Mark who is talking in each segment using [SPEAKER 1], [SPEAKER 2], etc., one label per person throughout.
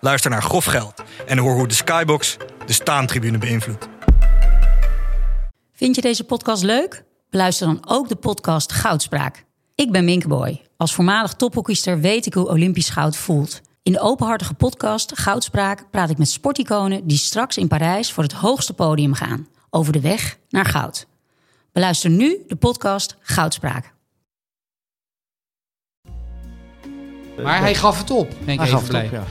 [SPEAKER 1] Luister naar Grof Geld en hoor hoe de Skybox de staantribune beïnvloedt.
[SPEAKER 2] Vind je deze podcast leuk? Beluister dan ook de podcast Goudspraak. Ik ben Minkeboy. Als voormalig tophockeyster weet ik hoe Olympisch goud voelt. In de openhartige podcast Goudspraak praat ik met sporticonen die straks in Parijs voor het hoogste podium gaan. Over de weg naar goud. Beluister nu de podcast Goudspraak.
[SPEAKER 3] Maar hij gaf het op, denk
[SPEAKER 4] Hij
[SPEAKER 3] ik
[SPEAKER 4] gaf
[SPEAKER 3] even
[SPEAKER 4] het op,
[SPEAKER 3] blij.
[SPEAKER 4] ja.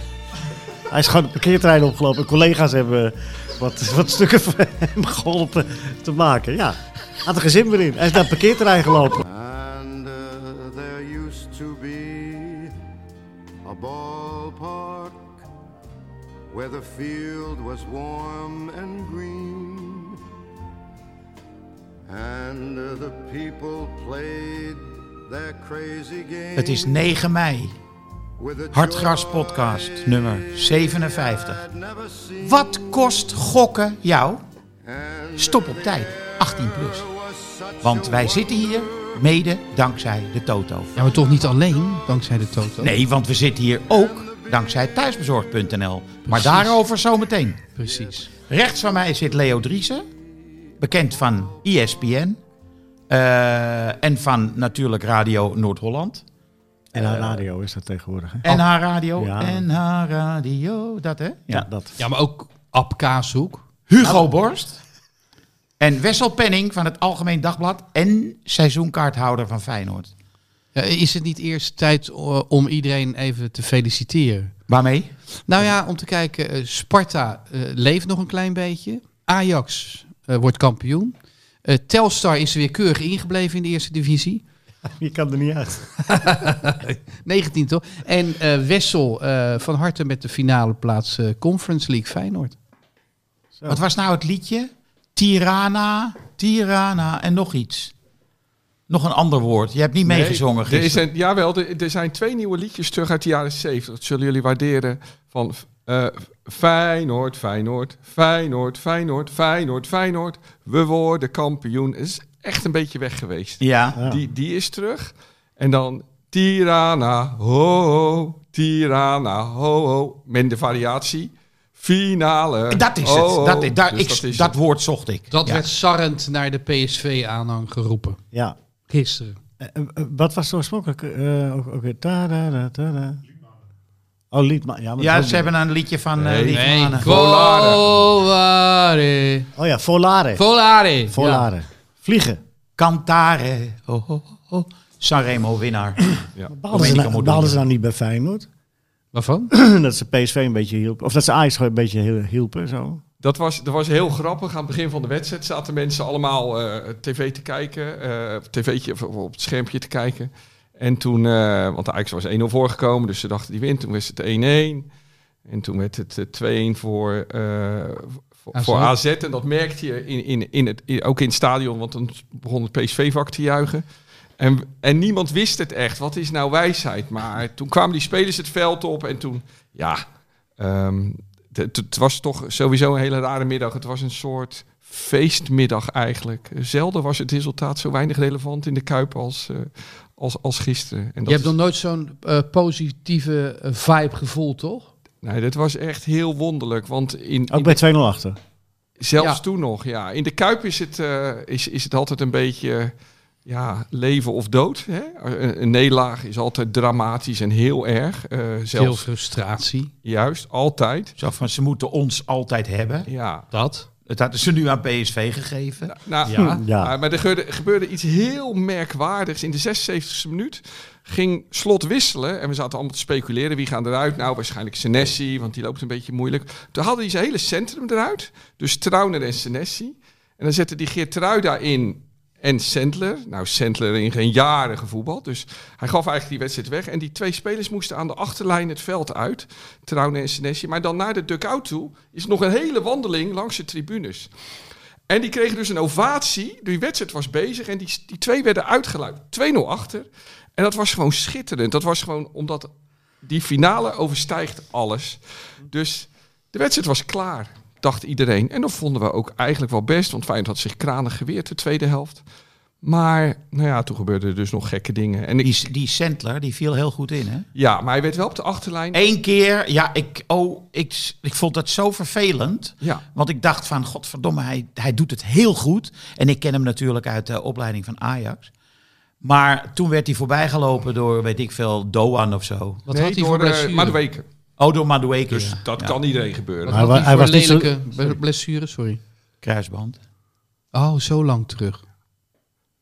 [SPEAKER 4] Hij is gewoon de parkeertrein opgelopen. Collega's hebben wat, wat stukken voor hem geholpen te maken. Ja, had er geen zin meer in. Hij is naar het parkeerterrein gelopen.
[SPEAKER 5] And uh, there used to be a ballpark where the field was warm and green. And uh, the people played their crazy game.
[SPEAKER 6] Het is 9 mei.
[SPEAKER 5] with a
[SPEAKER 6] Hartgras
[SPEAKER 5] joy
[SPEAKER 6] podcast nummer 57.
[SPEAKER 5] I'd never seen.
[SPEAKER 6] Wat kost gokken jou?
[SPEAKER 5] And
[SPEAKER 6] Stop op tijd. 18 plus.
[SPEAKER 5] there was such
[SPEAKER 6] Want
[SPEAKER 5] a
[SPEAKER 6] wij zitten hier mede dankzij de Toto.
[SPEAKER 3] Ja, maar toch niet alleen, dankzij de Toto.
[SPEAKER 6] Nee, want we zitten hier ook dankzij thuisbezorgd.nl. Maar daarover zometeen.
[SPEAKER 3] Precies.
[SPEAKER 6] Rechts van mij zit Leo Driessen, bekend van E ESPN. eh, en van natuurlijk Radio Noord-Holland.
[SPEAKER 4] En haar radio is dat tegenwoordig. Hè?
[SPEAKER 6] En haar radio.
[SPEAKER 4] Ja.
[SPEAKER 6] En haar radio. Dat hè? Oh. Ja.
[SPEAKER 4] Ja, dat.
[SPEAKER 3] Ja, maar ook Ab Kaashoek.
[SPEAKER 6] Hugo Borst. En Wessel Penning van het Algemeen Dagblad. En seizoenkaarthouder van Feyenoord.
[SPEAKER 3] Ja, is het niet eerst tijd eh, om iedereen even te feliciteren?
[SPEAKER 6] Waarmee?
[SPEAKER 3] Nou ja, om te kijken, eh, Sparta eh, leeft nog een klein beetje. Ajax eh, wordt kampioen. Eh, Telstar is weer keurig ingebleven in de eerste divisie.
[SPEAKER 4] Je kan er niet uit.
[SPEAKER 3] 19 toch? En eh, Wessel eh, van harte met de finale plaats eh, Conference League Feyenoord.
[SPEAKER 6] Wat was nou het liedje? Tirana, Tirana en nog iets. Nog een ander woord. Je hebt niet meegezongen
[SPEAKER 7] Nee, er
[SPEAKER 6] gisteren.
[SPEAKER 7] zijn, jawel, er, er zijn twee nieuwe liedjes terug uit de jaren 70. Dat zullen jullie waarderen. Van eh Feyenoord, Feyenoord, Feyenoord, Feyenoord, Feyenoord, Feyenoord. We worden kampioen. Het is echt een beetje weg geweest.
[SPEAKER 6] Ja.
[SPEAKER 4] Ja.
[SPEAKER 7] Die, die is terug. En dan Tirana, ho, ho, Tirana, ho, ho. Met de variatie. Finale.
[SPEAKER 6] Dat is
[SPEAKER 7] ho, ho.
[SPEAKER 6] het. Dat, is- daar,
[SPEAKER 7] Dus
[SPEAKER 6] ik,
[SPEAKER 7] dat
[SPEAKER 6] dat,
[SPEAKER 7] is het.
[SPEAKER 6] woord zocht ik.
[SPEAKER 3] Dat
[SPEAKER 6] Ja.
[SPEAKER 3] werd sarrend naar de PSV-aanhang geroepen.
[SPEAKER 4] Ja.
[SPEAKER 3] Gisteren.
[SPEAKER 4] Eh, eh, eh, wat was zo oorspronkelijk? Eh, ook- Oké. Tadada, tada. Oh, Liedma. Ja, maar
[SPEAKER 6] Ja,
[SPEAKER 4] dat-
[SPEAKER 6] ze hebben een liedje van eh,
[SPEAKER 7] Nee.
[SPEAKER 6] Liedje
[SPEAKER 3] Nee,
[SPEAKER 6] Manen.
[SPEAKER 7] Volare.
[SPEAKER 3] Volare.
[SPEAKER 4] Oh ja, Volare.
[SPEAKER 3] Volare.
[SPEAKER 4] Volare. Vliegen.
[SPEAKER 6] Cantare. Oh, Ho, ho, ho. Sanremo winnaar.
[SPEAKER 4] Baalden ze,
[SPEAKER 6] Domenico
[SPEAKER 4] nou,
[SPEAKER 6] Modugno.
[SPEAKER 4] baalden ze nou niet bij Feyenoord?
[SPEAKER 3] Waarvan?
[SPEAKER 4] dat ze PSV een beetje hielpen. Of dat ze Ajax gewoon een beetje hiel- hielpen. Zo.
[SPEAKER 7] Dat was, dat was heel grappig. Aan het begin van de wedstrijd zaten mensen allemaal eh, tv te kijken. eh, op tv'tje of op het schermpje te kijken. En toen, eh, want de Ajax was 1-0 voorgekomen, dus ze dachten die wint. Toen was het 1-1. En toen werd het eh, 2-1 voor, eh, voor,
[SPEAKER 3] AZ.
[SPEAKER 7] voor AZ. En dat merkte je in, in, in het, in- ook in het stadion, want dan begon het PSV-vak te juichen. En, en niemand wist het echt. Wat is nou wijsheid? Maar toen kwamen die spelers het veld op en toen, ja, Ehm, het, het was toch sowieso een hele rare middag. Het was een soort feestmiddag eigenlijk. Zelden was het resultaat zo weinig relevant in de Kuip als, eh, als, als gisteren. En dat
[SPEAKER 3] Je hebt
[SPEAKER 7] is-
[SPEAKER 3] nog nooit zo'n eh, positieve eh, vibe gevoeld, toch?
[SPEAKER 7] Nee, dat was echt heel wonderlijk. Want in,
[SPEAKER 4] Ook
[SPEAKER 7] in-
[SPEAKER 4] bij 2-0 achter.
[SPEAKER 7] zelfs
[SPEAKER 3] Oh, Ja.
[SPEAKER 7] toen nog, ja. In de Kuip is het, eh, is, is het altijd een beetje ja, leven of dood. Hè? Een, een nederlaag is altijd dramatisch en heel erg. eh,
[SPEAKER 3] Veel
[SPEAKER 7] zelfs,
[SPEAKER 3] frustratie.
[SPEAKER 7] juist, altijd.
[SPEAKER 6] Zo van, ze moeten ons altijd hebben.
[SPEAKER 7] Ja,
[SPEAKER 3] Dat.
[SPEAKER 6] Dat hadden ze nu aan PSV gegeven.
[SPEAKER 7] Nou,
[SPEAKER 4] Ja.
[SPEAKER 7] ja.
[SPEAKER 4] Ja.
[SPEAKER 7] maar er gebeurde, gebeurde iets heel merkwaardigs. In de 76e minuut ging Slot wisselen. En we zaten allemaal te speculeren. Wie gaan eruit? Nou, waarschijnlijk Senesi, want die loopt een beetje moeilijk. Toen hadden die zijn hele centrum eruit. Dus Trauner en Senesi. En dan zette die Geertrui daarin. en Sandler. Nou, Sandler in geen jaren gevoetbald. Dus hij gaf eigenlijk die wedstrijd weg. En die twee spelers moesten aan de achterlijn het veld uit. Trouwen en Senesi. Maar dan naar de dugout toe is nog een hele wandeling langs de tribunes. En die kregen dus een ovatie. Die wedstrijd was bezig en die, die twee werden uitgeluid. 2-0 achter. En dat was gewoon schitterend. Dat was gewoon omdat die finale overstijgt alles. Dus de wedstrijd was klaar, dacht iedereen. En dat vonden we ook eigenlijk wel best, want Feyenoord had zich kranig geweerd de tweede helft. Maar nou ja, toen gebeurden er dus nog gekke dingen. En ik,
[SPEAKER 6] Die, die Sandler, die viel heel goed in, hè?
[SPEAKER 7] ja, maar hij werd wel op de achterlijn.
[SPEAKER 6] Eén keer, ja, ik, oh, ik, ik vond dat zo vervelend.
[SPEAKER 7] Ja,
[SPEAKER 6] Want ik dacht van, godverdomme, hij, hij doet het heel goed. En ik ken hem natuurlijk uit de opleiding van Ajax. Maar toen werd hij voorbijgelopen door, weet ik veel, Doan of zo.
[SPEAKER 3] Wat
[SPEAKER 7] Nee,
[SPEAKER 3] had hij voor
[SPEAKER 7] door, eh,
[SPEAKER 3] blessure?
[SPEAKER 7] Madueke.
[SPEAKER 6] Oh, door Madueke.
[SPEAKER 7] Dus
[SPEAKER 6] ja.
[SPEAKER 7] dat
[SPEAKER 6] Ja,
[SPEAKER 7] kan iedereen gebeuren.
[SPEAKER 3] Wat
[SPEAKER 4] Hij
[SPEAKER 3] had
[SPEAKER 4] wa-
[SPEAKER 3] hij
[SPEAKER 4] hij
[SPEAKER 3] voor
[SPEAKER 4] was niet zo-
[SPEAKER 3] lelijke be- blessure? Sorry.
[SPEAKER 6] Kruisband.
[SPEAKER 3] Oh, zo lang terug.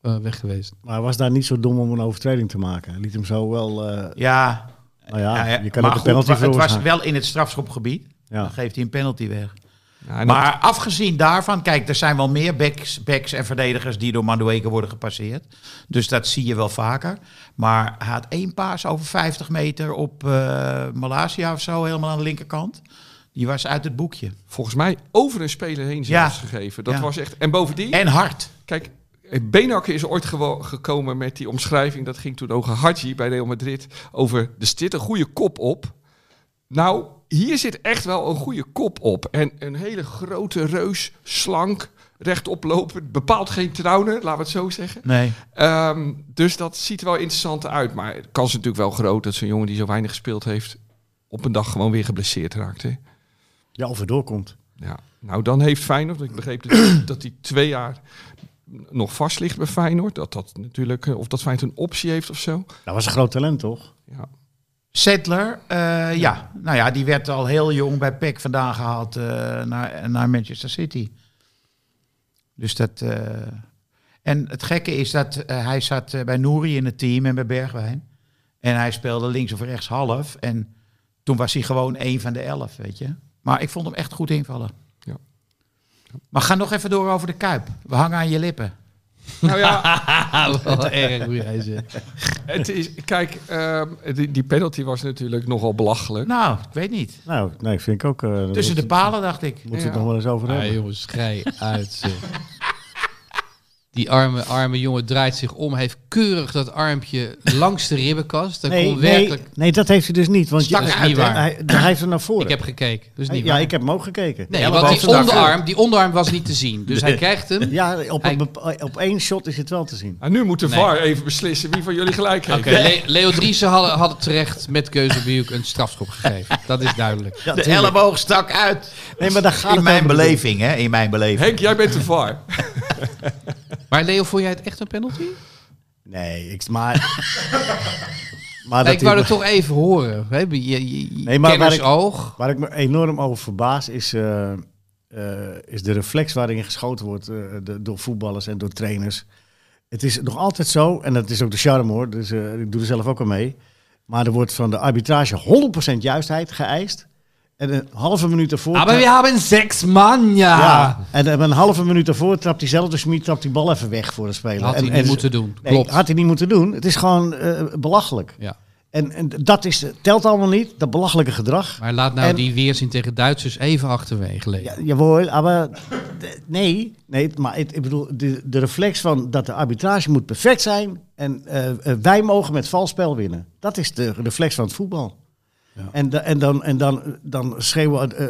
[SPEAKER 3] Eh, weg geweest.
[SPEAKER 4] Maar hij was daar niet zo dom om een overtreding te maken. Hij liet hem zo wel... eh,
[SPEAKER 6] Ja,
[SPEAKER 4] nou ja,
[SPEAKER 6] ja, ja,
[SPEAKER 4] je kan
[SPEAKER 6] maar
[SPEAKER 4] ook een
[SPEAKER 6] goed,
[SPEAKER 4] penalty
[SPEAKER 6] het
[SPEAKER 4] voor
[SPEAKER 6] was
[SPEAKER 4] gaan.
[SPEAKER 6] wel in het strafschopgebied.
[SPEAKER 4] Ja.
[SPEAKER 6] Dan geeft hij een penalty weg.
[SPEAKER 7] Ja, en dat-
[SPEAKER 6] Maar afgezien daarvan, kijk, er zijn wel meer backs, backs en verdedigers die door Madueke worden gepasseerd. Dus dat zie je wel vaker. Maar hij had één paas over 50 meter op eh Malaysia of zo, helemaal aan de linkerkant. Die was uit het boekje.
[SPEAKER 7] volgens mij over een speler heen
[SPEAKER 6] Ja.
[SPEAKER 7] zelfs gegeven. Dat
[SPEAKER 6] Ja.
[SPEAKER 7] was echt. En bovendien,
[SPEAKER 6] En hard.
[SPEAKER 7] kijk, Benakker is ooit gewo- gekomen met die omschrijving. Dat ging toen over Hadji bij Real Madrid. Over er zit een goede kop op. Nou, hier zit echt wel een goede kop op. En een hele grote reus, slank, rechtop lopend. Bepaalt geen trouwner, laten we het zo zeggen.
[SPEAKER 6] Nee.
[SPEAKER 7] Ehm, dus dat ziet er wel interessant uit. Maar de kans is natuurlijk wel groot dat zo'n jongen die zo weinig gespeeld heeft. op een dag gewoon weer geblesseerd raakt. Hè?
[SPEAKER 4] ja, of hij doorkomt.
[SPEAKER 7] Ja, nou dan heeft Feyenoord, ik begreep dus dat, dat hij twee jaar nog vast ligt bij Feyenoord. Dat dat natuurlijk, eh, of dat Feyenoord een optie heeft of zo.
[SPEAKER 4] Dat was een groot talent, toch?
[SPEAKER 7] Ja,
[SPEAKER 6] Settler, ja. Nou ja, die werd al heel jong bij PEC vandaan gehaald eh, naar, naar Manchester City. Dus dat... eh, En het gekke is dat eh, hij zat eh, bij Nouri in het team en bij Bergwijn. En hij speelde links of rechts half. En toen was hij gewoon één van de elf, weet je. Maar ik vond hem echt goed invallen.
[SPEAKER 7] Ja.
[SPEAKER 6] Maar ga nog even door over de Kuip. We hangen aan je lippen.
[SPEAKER 7] nou ja,
[SPEAKER 3] Ah, Wat erg hoe jij zegt.
[SPEAKER 7] het is, kijk, ehm, die, die penalty was natuurlijk nogal belachelijk.
[SPEAKER 6] Nou, ik weet niet.
[SPEAKER 4] Nou, nee, vind ik ook... eh, daar
[SPEAKER 6] Tussen de
[SPEAKER 4] moeten
[SPEAKER 6] palen dacht ik.
[SPEAKER 4] we het
[SPEAKER 7] Ja.
[SPEAKER 4] nog wel eens over
[SPEAKER 3] Ah,
[SPEAKER 4] hebben.
[SPEAKER 3] jongens, schij uit. zeg. Die arme, arme jongen draait zich om. Hij heeft keurig dat armpje langs de ribbenkast. Hij
[SPEAKER 4] nee,
[SPEAKER 3] kon werkelijk...
[SPEAKER 4] nee, nee, dat heeft hij dus niet. Want je-
[SPEAKER 3] Stak
[SPEAKER 4] hij,
[SPEAKER 3] uit, hè?
[SPEAKER 4] hij, hij heeft er naar voren.
[SPEAKER 3] Ik heb gekeken, dus niet
[SPEAKER 4] ja,
[SPEAKER 3] waar.
[SPEAKER 4] ik heb hem ook gekeken.
[SPEAKER 3] Nee,
[SPEAKER 6] Ja,
[SPEAKER 3] want die
[SPEAKER 6] boven de
[SPEAKER 3] onderarm, die onderarm was niet te zien. Dus hij krijgt hem.
[SPEAKER 4] Ja, op,
[SPEAKER 3] Hij-
[SPEAKER 4] een bepa- op één shot is het wel te zien.
[SPEAKER 7] En nu moet de
[SPEAKER 3] Nee.
[SPEAKER 7] VAR even beslissen wie van jullie gelijk heeft.
[SPEAKER 3] Oké, Le- Leo Driessen had, had terecht met Keuzebuik een strafschop gegeven. Dat is duidelijk.
[SPEAKER 4] Ja,
[SPEAKER 6] De
[SPEAKER 4] tuurlijk.
[SPEAKER 6] elleboog stak uit.
[SPEAKER 4] Nee, maar daar gaat
[SPEAKER 6] In
[SPEAKER 4] het
[SPEAKER 6] mijn
[SPEAKER 4] helemaal niet om.
[SPEAKER 6] beleving, hè? In mijn beleving.
[SPEAKER 7] Henk, jij bent de VAR.
[SPEAKER 3] Maar Leo, vond jij het echt een penalty?
[SPEAKER 4] Nee, ik, maar...
[SPEAKER 3] Nee,
[SPEAKER 4] maar dat
[SPEAKER 3] ik wou
[SPEAKER 4] hij-
[SPEAKER 3] het toch even horen. Hè? Je, je, je
[SPEAKER 4] Nee, maar waar
[SPEAKER 3] kenners
[SPEAKER 4] ik-
[SPEAKER 3] oog.
[SPEAKER 4] Waar ik me enorm over verbaas is, eh, eh, is de reflex waarin geschoten wordt eh, de- door voetballers en door trainers. Het is nog altijd zo, en dat is ook de charme hoor, dus eh, ik doe er zelf ook aan mee. Maar er wordt van de arbitrage 100% juistheid geëist. En een halve minuut ervoor.
[SPEAKER 3] Ah, Maar we
[SPEAKER 4] ja.
[SPEAKER 3] hebben seks, man, ja.
[SPEAKER 4] en eh, een halve minuut ervoor trapt diezelfde Schmid trapt die bal even weg voor de speler.
[SPEAKER 3] Had
[SPEAKER 4] en,
[SPEAKER 3] hij niet
[SPEAKER 4] en-
[SPEAKER 3] moeten doen.
[SPEAKER 4] Nee,
[SPEAKER 3] Klopt.
[SPEAKER 4] had hij niet moeten doen. Het is gewoon eh, belachelijk.
[SPEAKER 3] Ja.
[SPEAKER 4] En, en dat is, telt allemaal niet, dat belachelijke gedrag.
[SPEAKER 3] Maar laat nou
[SPEAKER 4] En-
[SPEAKER 3] die weerzin tegen Duitsers even achterwege Leo.
[SPEAKER 4] Ja, jawohl, aber d- nee, nee, maar het- ik bedoel, de, de reflex van dat de arbitrage moet perfect zijn en eh, eh, wij mogen met vals spel winnen. Dat is de reflex van het voetbal. En, da- en, dan, en dan, dan schreeuwen eh,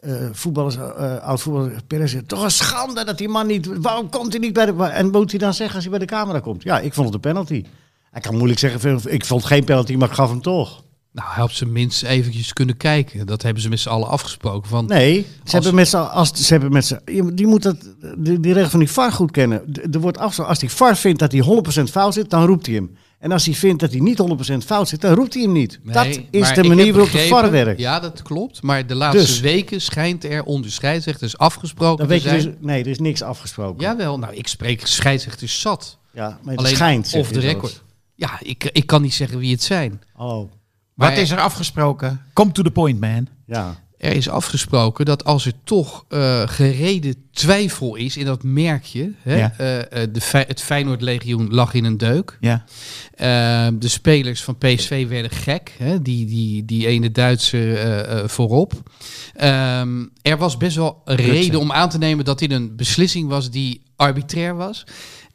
[SPEAKER 4] eh, voetballers, eh oud-voetballers, Perez, toch een schande dat die man niet, waarom komt hij niet bij de, en moet hij dan zeggen als hij bij de camera komt? Ja, ik vond het een penalty. Hij kan moeilijk zeggen, ik vond geen penalty, maar ik gaf hem toch.
[SPEAKER 3] Nou, help ze minstens eventjes kunnen kijken. Dat hebben ze met z'n allen afgesproken. Van,
[SPEAKER 4] Nee, ze
[SPEAKER 3] Als-
[SPEAKER 4] hebben met z'n- als ze hebben met z'n- je- die moet dat die, die regel van die VAR goed kennen. D- Er wordt afgesproken als die VAR vindt dat hij 100% fout zit, dan roept hij hem. En als hij vindt dat hij niet 100% fout zit, dan roept hij hem niet.
[SPEAKER 3] Nee,
[SPEAKER 4] dat is
[SPEAKER 3] maar
[SPEAKER 4] de
[SPEAKER 3] ik
[SPEAKER 4] manier
[SPEAKER 3] heb
[SPEAKER 4] waarop de
[SPEAKER 3] begrepen-
[SPEAKER 4] VAR werkt.
[SPEAKER 3] Ja, dat klopt. Maar de laatste
[SPEAKER 4] Dus.
[SPEAKER 3] weken schijnt er onder scheidsrechters afgesproken
[SPEAKER 4] Dan
[SPEAKER 3] te
[SPEAKER 4] weet je
[SPEAKER 3] zijn.
[SPEAKER 4] dus, nee, er is niks afgesproken. Ja,
[SPEAKER 3] Jawel, nou ik spreek scheidsrechters zat.
[SPEAKER 4] maar het schijnt. zeg
[SPEAKER 3] of
[SPEAKER 4] je dus.
[SPEAKER 3] de
[SPEAKER 4] zelfs.
[SPEAKER 3] record. Ja, ik, ik kan niet zeggen wie het zijn.
[SPEAKER 4] Oh,
[SPEAKER 6] Wat
[SPEAKER 3] Maar-
[SPEAKER 6] is er afgesproken? Come to the point, man.
[SPEAKER 4] ja.
[SPEAKER 3] Er is afgesproken dat als er toch eh, gereden twijfel is in dat merkje. Hè,
[SPEAKER 6] Ja.
[SPEAKER 3] eh, eh, de, Fey- het Feyenoord legioen lag in een deuk.
[SPEAKER 6] Ja.
[SPEAKER 3] Eh, de spelers van PSV werden gek. Hè? Die, die, die ene Duitse eh, eh, voorop. Ehm, er was best wel een
[SPEAKER 6] Rutsen.
[SPEAKER 3] reden om aan te nemen dat dit een beslissing was die arbitrair was.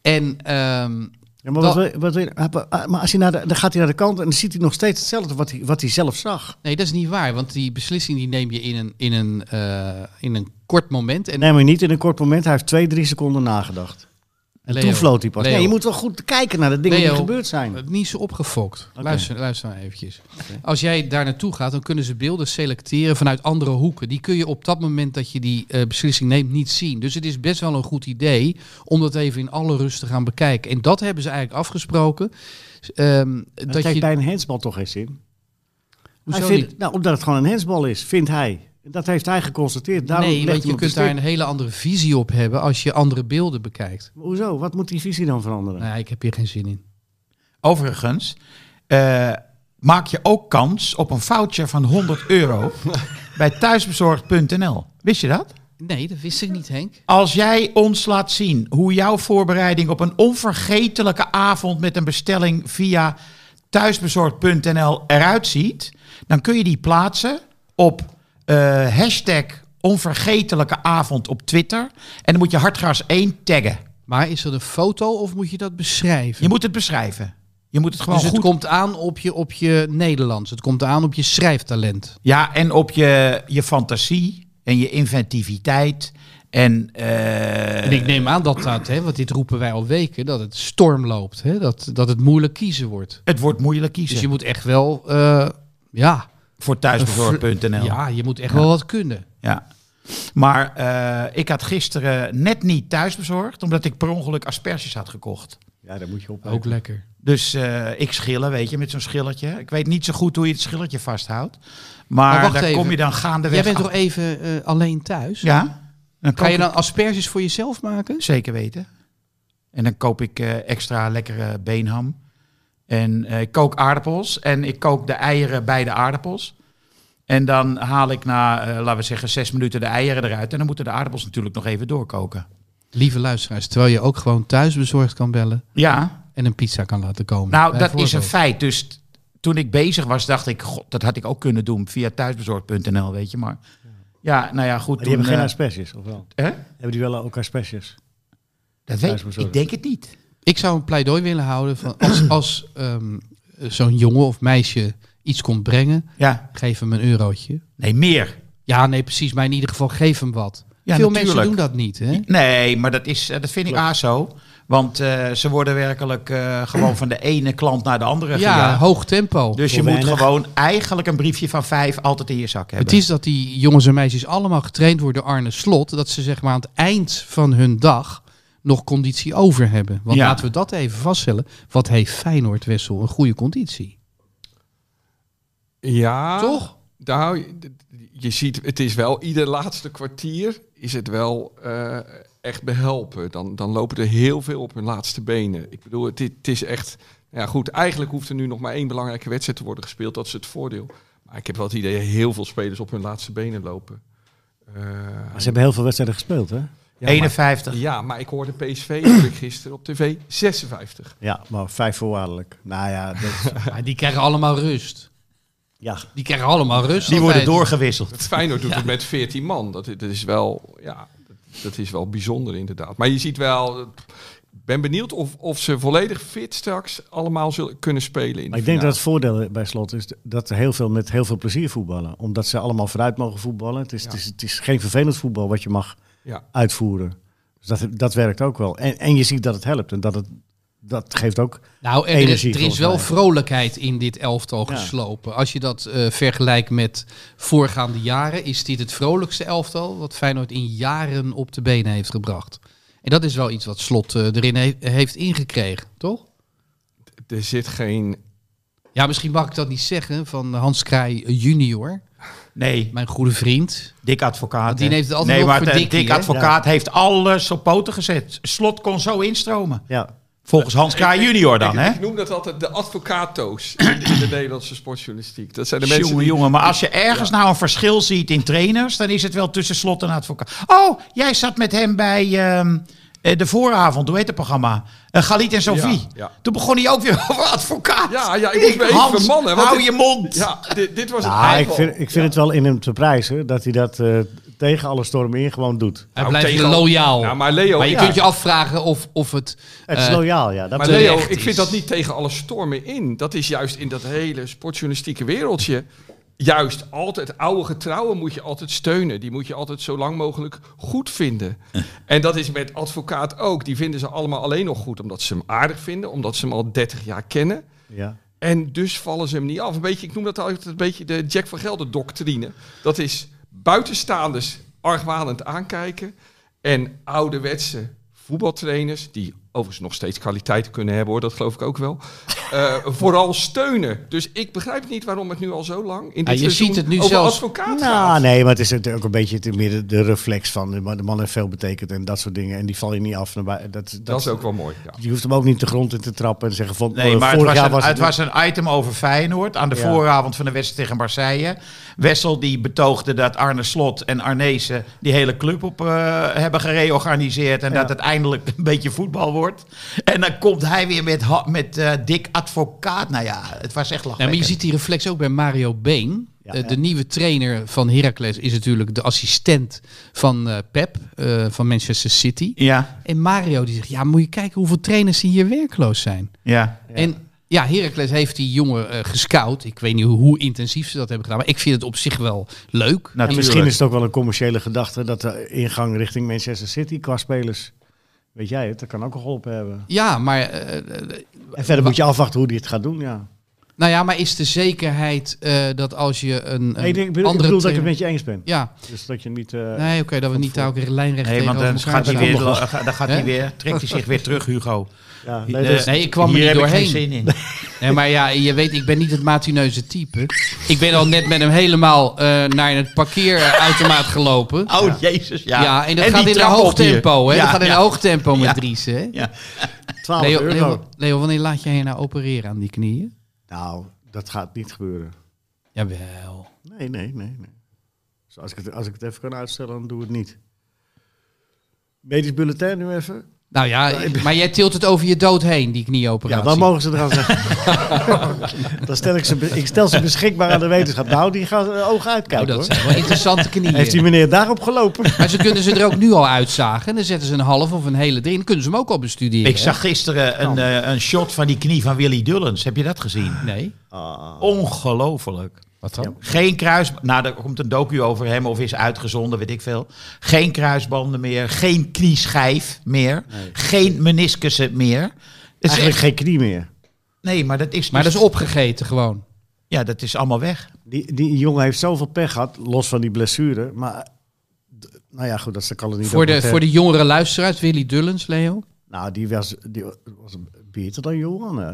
[SPEAKER 3] En ehm,
[SPEAKER 4] Ja, maar, wat, wil- wat, wil- ah, maar als hij naar de, dan gaat hij naar de kant en dan ziet hij nog steeds hetzelfde wat hij, wat hij zelf zag.
[SPEAKER 3] nee, dat is niet waar. Want die beslissing die neem je in een, in een, eh, in een kort moment. En
[SPEAKER 4] Nee, maar niet in een kort moment. Hij heeft twee, drie seconden nagedacht. En
[SPEAKER 3] Leo,
[SPEAKER 4] toen floot hij pas.
[SPEAKER 3] Leo.
[SPEAKER 4] Nee, je moet wel goed kijken naar de dingen
[SPEAKER 3] Leo.
[SPEAKER 4] die gebeurd zijn.
[SPEAKER 3] Het niet zo opgefokt. Luister, luister nou eventjes. Als jij daar naartoe gaat, dan kunnen ze beelden selecteren vanuit andere hoeken. Die kun je op dat moment dat je die eh, beslissing neemt niet zien. Dus het is best wel een goed idee om dat even in alle rust te gaan bekijken. En dat hebben ze eigenlijk afgesproken. Ehm,
[SPEAKER 4] Dat
[SPEAKER 3] dat
[SPEAKER 4] heeft
[SPEAKER 3] je,
[SPEAKER 4] bij een handsbal toch geen zin.
[SPEAKER 3] hoezo
[SPEAKER 4] hij vindt,
[SPEAKER 3] niet?
[SPEAKER 4] Nou, omdat het gewoon een handsbal is, vindt hij. Dat heeft hij geconstateerd. Daarom
[SPEAKER 3] nee,
[SPEAKER 4] legt
[SPEAKER 3] want
[SPEAKER 4] hij
[SPEAKER 3] je
[SPEAKER 4] hem op
[SPEAKER 3] kunt
[SPEAKER 4] de
[SPEAKER 3] daar een
[SPEAKER 4] stip.
[SPEAKER 3] hele andere visie op hebben als je andere beelden bekijkt.
[SPEAKER 4] Hoezo? Wat moet die visie dan veranderen?
[SPEAKER 3] Nee, ik heb hier geen zin in.
[SPEAKER 6] Overigens eh, maak je ook kans op een voucher van 100 euro bij thuisbezorgd.nl. Wist je dat?
[SPEAKER 3] Nee, dat wist ik niet, Henk.
[SPEAKER 6] Als jij ons laat zien hoe jouw voorbereiding op een onvergetelijke avond met een bestelling via thuisbezorgd.nl eruit ziet, dan kun je die plaatsen op eh, hashtag onvergetelijke avond op Twitter. En dan moet je Hartgras 1 taggen.
[SPEAKER 3] Maar is dat een foto of moet je dat beschrijven?
[SPEAKER 6] Je moet het beschrijven. Je moet het gewoon
[SPEAKER 3] dus het
[SPEAKER 6] goed
[SPEAKER 3] komt aan op je, op je Nederlands. Het komt aan op je schrijftalent.
[SPEAKER 6] Ja, en op je, je fantasie en je inventiviteit. En, eh,
[SPEAKER 3] En ik neem aan dat dat, hè, want dit roepen wij al weken, dat het storm loopt. Hè, dat, dat het moeilijk kiezen wordt.
[SPEAKER 6] het wordt moeilijk
[SPEAKER 3] Dus
[SPEAKER 6] kiezen
[SPEAKER 3] je moet echt wel, eh, ja,
[SPEAKER 6] voor thuisbezorgd.nl. Ja.
[SPEAKER 3] ja, je moet echt wel wat kunnen.
[SPEAKER 6] Maar eh, ik had gisteren net niet thuisbezorgd, omdat ik per ongeluk asperges had gekocht.
[SPEAKER 4] Ja, daar moet je op.
[SPEAKER 3] Ook lekker.
[SPEAKER 6] Dus eh, ik schillen, weet je, met zo'n schilletje. Ik weet niet zo goed hoe je het schilletje vasthoudt.
[SPEAKER 3] Maar
[SPEAKER 6] Maar,
[SPEAKER 3] wacht
[SPEAKER 6] daar
[SPEAKER 3] even.
[SPEAKER 6] kom je dan gaandeweg
[SPEAKER 3] Jij bent toch
[SPEAKER 6] achter.
[SPEAKER 3] even eh, alleen thuis?
[SPEAKER 6] Ja? Dan
[SPEAKER 3] Ga je
[SPEAKER 6] koop
[SPEAKER 3] dan asperges voor jezelf maken?
[SPEAKER 6] ik- Zeker weten. En dan koop ik eh, extra lekkere beenham. En eh, ik kook aardappels. En ik kook de eieren bij de aardappels. En dan haal ik na, eh, laten we zeggen, zes minuten de eieren eruit. En dan moeten de aardappels natuurlijk nog even doorkoken.
[SPEAKER 3] Lieve luisteraars, terwijl je ook gewoon thuis bezorgd kan bellen
[SPEAKER 6] Ja,
[SPEAKER 3] en een pizza kan laten komen.
[SPEAKER 6] nou dat
[SPEAKER 3] Bijvoorbeeld.
[SPEAKER 6] is een feit. Dus t- toen ik bezig was, dacht ik, god, dat had ik ook kunnen doen via thuisbezorgd.nl, weet je. Maar ja, nou ja, goed.
[SPEAKER 4] Maar die hebben geen
[SPEAKER 6] eh,
[SPEAKER 4] asperges, of wel?
[SPEAKER 6] hè?
[SPEAKER 4] Hebben die wel ook asperges?
[SPEAKER 6] Dat weet ik,
[SPEAKER 4] Thuisbezorgd.
[SPEAKER 6] ik denk het niet.
[SPEAKER 3] Ik zou een pleidooi willen houden van als, als ehm, zo'n jongen of meisje iets komt brengen,
[SPEAKER 6] Ja,
[SPEAKER 3] geef hem een eurotje.
[SPEAKER 6] nee, meer.
[SPEAKER 3] Ja, nee, precies. Maar in ieder geval, geef hem wat.
[SPEAKER 6] Ja,
[SPEAKER 3] Veel mensen
[SPEAKER 6] natuurlijk.
[SPEAKER 3] doen dat niet, hè?
[SPEAKER 6] Nee, maar dat, is, eh, dat vind ik ASO. Want eh, ze worden werkelijk eh, gewoon van de ene klant naar de andere
[SPEAKER 3] Ja,
[SPEAKER 6] gejaagd.
[SPEAKER 3] hoog tempo.
[SPEAKER 6] Dus je
[SPEAKER 4] Voor
[SPEAKER 6] moet
[SPEAKER 4] weinig.
[SPEAKER 6] gewoon eigenlijk een briefje van vijf altijd in je zak hebben.
[SPEAKER 3] het is dat die jongens en meisjes allemaal getraind worden door Arne Slot. Dat ze zeg maar aan het eind van hun dag nog conditie over hebben. Want
[SPEAKER 6] Ja.
[SPEAKER 3] laten we dat even vaststellen. Wat heeft Feyenoord Wessel een goede conditie?
[SPEAKER 7] Ja.
[SPEAKER 3] Toch?
[SPEAKER 7] Nou, je- je ziet, het is wel ieder laatste kwartier is het wel eh, echt behelpen. Dan, dan lopen er heel veel op hun laatste benen. Ik bedoel, het, i- het is echt... Ja goed, eigenlijk hoeft er nu nog maar één belangrijke wedstrijd te worden gespeeld. Dat is het voordeel. Maar ik heb wel het idee dat heel veel spelers op hun laatste benen lopen. Eh,
[SPEAKER 4] Maar ze hebben heel veel wedstrijden gespeeld, hè?
[SPEAKER 7] ja,
[SPEAKER 6] 51.
[SPEAKER 7] maar, ja, maar ik hoorde PSV hoorde ik gisteren op tv 56.
[SPEAKER 4] Ja, maar vijf voorwaardelijk. Nou ja, dat,
[SPEAKER 3] Ja, die krijgen allemaal rust.
[SPEAKER 4] ja.
[SPEAKER 3] Die krijgen allemaal rust.
[SPEAKER 6] Die worden
[SPEAKER 3] altijd.
[SPEAKER 6] doorgewisseld.
[SPEAKER 7] Feyenoord doet het met 14 man. Dat, i- dat is wel, ja, dat, dat is wel bijzonder inderdaad. Maar je ziet wel, ik ben benieuwd of, of ze volledig fit straks allemaal zullen kunnen spelen. In
[SPEAKER 4] Maar ik denk dat het
[SPEAKER 7] nou-
[SPEAKER 4] voordeel bij slot is dat ze heel veel met heel veel plezier voetballen. Omdat ze allemaal vooruit mogen voetballen. Het is,
[SPEAKER 7] Ja.
[SPEAKER 4] het is, het is geen vervelend voetbal wat je mag
[SPEAKER 7] Ja.
[SPEAKER 4] uitvoeren. Dus dat, dat werkt ook wel. En, en je ziet dat het helpt. En dat, het, dat geeft ook.
[SPEAKER 3] Nou, er,
[SPEAKER 4] energie,
[SPEAKER 3] is, er is
[SPEAKER 4] volgens
[SPEAKER 3] wel
[SPEAKER 4] mij.
[SPEAKER 3] vrolijkheid in dit elftal
[SPEAKER 4] Ja.
[SPEAKER 3] geslopen. Als je dat eh, vergelijkt met voorgaande jaren, is dit het vrolijkste elftal wat Feyenoord in jaren op de benen heeft gebracht. En dat is wel iets wat Slot eh, erin he- heeft ingekregen, toch?
[SPEAKER 7] Er zit geen...
[SPEAKER 3] Ja, misschien mag ik dat niet zeggen van Hans Kraai junior,
[SPEAKER 6] Nee,
[SPEAKER 3] mijn goede vriend.
[SPEAKER 6] dik advocaat.
[SPEAKER 3] Want die
[SPEAKER 6] hè.
[SPEAKER 3] heeft het altijd
[SPEAKER 6] nee,
[SPEAKER 3] nog
[SPEAKER 6] maar eh,
[SPEAKER 3] voor
[SPEAKER 6] de-
[SPEAKER 3] Dikkie,
[SPEAKER 6] dik
[SPEAKER 3] hè?
[SPEAKER 6] advocaat heeft alles op poten gezet. Slot kon zo instromen.
[SPEAKER 4] Ja,
[SPEAKER 6] Volgens Hans K. junior dan,
[SPEAKER 7] ik,
[SPEAKER 6] hè?
[SPEAKER 7] ik noem dat altijd de advocato's in de, in de Nederlandse sportjournalistiek. Dat zijn de mensen
[SPEAKER 6] Jongen,
[SPEAKER 7] die...
[SPEAKER 6] jongen, maar als je ergens nou een verschil ziet in trainers, dan is het wel tussen slot en advocaat. Oh, jij zat met hem bij ehm, eh, de vooravond, hoe heet het programma? Eh Galit en Sophie.
[SPEAKER 7] Ja, ja.
[SPEAKER 6] Toen begon hij ook weer over advocaat.
[SPEAKER 7] Ja, ja, ik moest me even
[SPEAKER 6] Hans,
[SPEAKER 7] vermannen, want
[SPEAKER 6] hou
[SPEAKER 7] dit-
[SPEAKER 6] je mond.
[SPEAKER 7] Ja, dit, dit was het
[SPEAKER 4] Ah, ik
[SPEAKER 7] eigen.
[SPEAKER 4] vind, ik vind het wel in hem te prijzen dat hij dat eh, tegen alle stormen in gewoon doet.
[SPEAKER 3] Hij
[SPEAKER 7] Nou,
[SPEAKER 3] blijft
[SPEAKER 7] tegen-
[SPEAKER 3] loyaal.
[SPEAKER 7] Nou, maar Leo,
[SPEAKER 3] maar je
[SPEAKER 7] ik-
[SPEAKER 3] kunt je afvragen of, of het...
[SPEAKER 4] Het is
[SPEAKER 3] eh,
[SPEAKER 4] loyaal, ja. Dat
[SPEAKER 7] Maar
[SPEAKER 3] terecht
[SPEAKER 7] Leo, ik
[SPEAKER 3] is.
[SPEAKER 7] vind dat niet tegen alle stormen in. Dat is juist in dat hele sportjournalistieke wereldje. Juist altijd oude getrouwen moet je altijd steunen. Die moet je altijd zo lang mogelijk goed vinden. En dat is met advocaat ook. Die vinden ze allemaal alleen nog goed omdat ze hem aardig vinden, omdat ze hem al 30 jaar kennen.
[SPEAKER 4] ja.
[SPEAKER 7] En dus vallen ze hem niet af. Een beetje, ik noem dat altijd een beetje de Jack van Gelder doctrine. Dat is buitenstaanders argwanend aankijken. En ouderwetse voetbaltrainers, die overigens nog steeds kwaliteiten kunnen hebben hoor, dat geloof ik ook wel. eh, vooral steunen. Dus ik begrijp niet waarom het nu al zo lang in dit
[SPEAKER 3] Ja, je
[SPEAKER 7] seizoen
[SPEAKER 3] ziet het nu
[SPEAKER 7] over
[SPEAKER 3] zelfs-
[SPEAKER 4] Nou,
[SPEAKER 7] advocaat gaat.
[SPEAKER 4] nee, maar het is natuurlijk ook een beetje te- meer de- de reflex van de man de man heeft veel betekend en dat soort dingen. En die val je niet af. Naar bui- dat, dat,
[SPEAKER 7] Dat is ook wel mooi. Ja.
[SPEAKER 4] Je hoeft hem ook niet de grond in te trappen en te zeggen van
[SPEAKER 6] Nee,
[SPEAKER 4] eh,
[SPEAKER 6] maar het
[SPEAKER 4] vorig
[SPEAKER 6] was,
[SPEAKER 4] jaar
[SPEAKER 6] een,
[SPEAKER 4] was
[SPEAKER 6] het was een item over Feyenoord aan de
[SPEAKER 4] Ja.
[SPEAKER 6] vooravond van de wedstrijd tegen Marseille. Wessel die betoogde dat Arne Slot en Arnezen die hele club op eh, hebben gereorganiseerd en
[SPEAKER 4] Ja.
[SPEAKER 6] dat het eindelijk een beetje voetbal wordt. En dan komt hij weer met, ha- met eh, Dick Advocaat. Nou ja, het was echt
[SPEAKER 3] Nou,
[SPEAKER 6] lachen.
[SPEAKER 3] maar je ziet die reflex ook bij Mario Been.
[SPEAKER 4] Ja,
[SPEAKER 3] Eh,
[SPEAKER 4] ja.
[SPEAKER 3] de nieuwe trainer van Heracles is natuurlijk de assistent van eh, Pep, eh, van Manchester City.
[SPEAKER 6] Ja,
[SPEAKER 3] En Mario die zegt, ja, moet je kijken hoeveel trainers die hier werkloos zijn.
[SPEAKER 6] ja.
[SPEAKER 3] En ja, Heracles heeft die jongen eh, gescout. Ik weet niet hoe, hoe intensief ze dat hebben gedaan, maar ik vind het op zich wel leuk.
[SPEAKER 4] En
[SPEAKER 6] Natuurlijk.
[SPEAKER 4] misschien is het ook wel een commerciële gedachte dat de ingang richting Manchester City qua spelers. Weet jij het? Dat kan ook al geholpen hebben.
[SPEAKER 3] Ja, maar, eh, eh,
[SPEAKER 4] En verder moet je afwachten hoe die het gaat doen, ja.
[SPEAKER 3] nou ja, maar is de zekerheid eh, dat als je een, een
[SPEAKER 4] Nee, ik, denk- ik bedoel, ik
[SPEAKER 3] andere
[SPEAKER 4] bedoel dat ik
[SPEAKER 3] trainer-
[SPEAKER 4] het met je eens ben.
[SPEAKER 3] Ja,
[SPEAKER 4] Dus dat je niet... eh,
[SPEAKER 3] nee, oké, dat we niet daar ook een lijnrecht
[SPEAKER 6] Nee, want
[SPEAKER 3] tegenover
[SPEAKER 6] dan
[SPEAKER 3] elkaar
[SPEAKER 6] gaat, hij
[SPEAKER 3] staan.
[SPEAKER 6] weer, dan gaat hij
[SPEAKER 3] Hè?
[SPEAKER 6] weer, trekt hij zich weer terug, Hugo.
[SPEAKER 4] ja, nee,
[SPEAKER 6] Eh,
[SPEAKER 4] dus-
[SPEAKER 3] Nee, ik kwam er
[SPEAKER 6] Hier
[SPEAKER 3] niet
[SPEAKER 6] heb ik
[SPEAKER 3] doorheen.
[SPEAKER 6] geen zin in.
[SPEAKER 3] Nee, maar ja, je weet, ik ben niet het matineuze type. Ik ben al net met hem helemaal eh, naar het parkeerautomaat gelopen.
[SPEAKER 6] Oh, jezus, ja.
[SPEAKER 3] ja. en dat
[SPEAKER 6] die
[SPEAKER 3] gaat in een
[SPEAKER 6] trap
[SPEAKER 3] hoog
[SPEAKER 6] op hier.
[SPEAKER 3] tempo, hè?
[SPEAKER 6] Ja,
[SPEAKER 3] dat gaat in
[SPEAKER 6] ja.
[SPEAKER 3] een hoog tempo met
[SPEAKER 6] Ja.
[SPEAKER 3] Dries, hè?
[SPEAKER 4] 12
[SPEAKER 3] Leo,
[SPEAKER 4] euro.
[SPEAKER 3] Leo, Leo, wanneer laat jij je nou opereren aan die knieën?
[SPEAKER 4] Nou, dat gaat niet gebeuren.
[SPEAKER 3] Jawel.
[SPEAKER 4] Nee, nee, nee. nee. Dus als, ik het, als ik het even kan uitstellen, dan doe ik het niet. Medisch bulletin nu even.
[SPEAKER 3] Nou ja, maar jij tilt het over je dood heen, die knieoperatie.
[SPEAKER 4] Ja, dan mogen ze eraan zeggen. dan stel ik, ze, be- ik stel ze beschikbaar aan de wetenschap. Nou, die gaan eh, ogen
[SPEAKER 3] Oh,
[SPEAKER 4] uitkijken
[SPEAKER 3] dat
[SPEAKER 4] hoor.
[SPEAKER 3] zijn wel interessante knieën.
[SPEAKER 4] Heeft die meneer daarop gelopen?
[SPEAKER 3] Maar ze kunnen ze er ook nu al uitzagen. Dan zetten ze een half of een hele erin. Dan kunnen ze hem ook al bestuderen.
[SPEAKER 6] Ik zag gisteren een, eh, een shot van die knie van Willy Dullens. Heb je dat gezien?
[SPEAKER 3] Ah. Nee.
[SPEAKER 6] Ongelooflijk.
[SPEAKER 3] Wat dan?
[SPEAKER 6] Geen kruis... Nou, er komt een docu over hem of is uitgezonden, weet ik veel. Geen kruisbanden meer, geen knieschijf meer, geen meniscussen meer. Het is
[SPEAKER 4] Eigenlijk
[SPEAKER 6] echt-
[SPEAKER 4] geen knie meer.
[SPEAKER 6] Nee, maar dat is...
[SPEAKER 3] Maar
[SPEAKER 6] dus-
[SPEAKER 3] dat is opgegeten gewoon.
[SPEAKER 6] Ja, dat is allemaal weg.
[SPEAKER 4] Die, die jongen heeft zoveel pech gehad, los van die blessure. Maar, d- nou ja, goed, dat ze kan het niet
[SPEAKER 3] Voor de,
[SPEAKER 4] documentaire-
[SPEAKER 3] voor de jongere luisteraars, Willy Dullens, Leo.
[SPEAKER 4] Nou, die was, die was beter dan Johan, hè?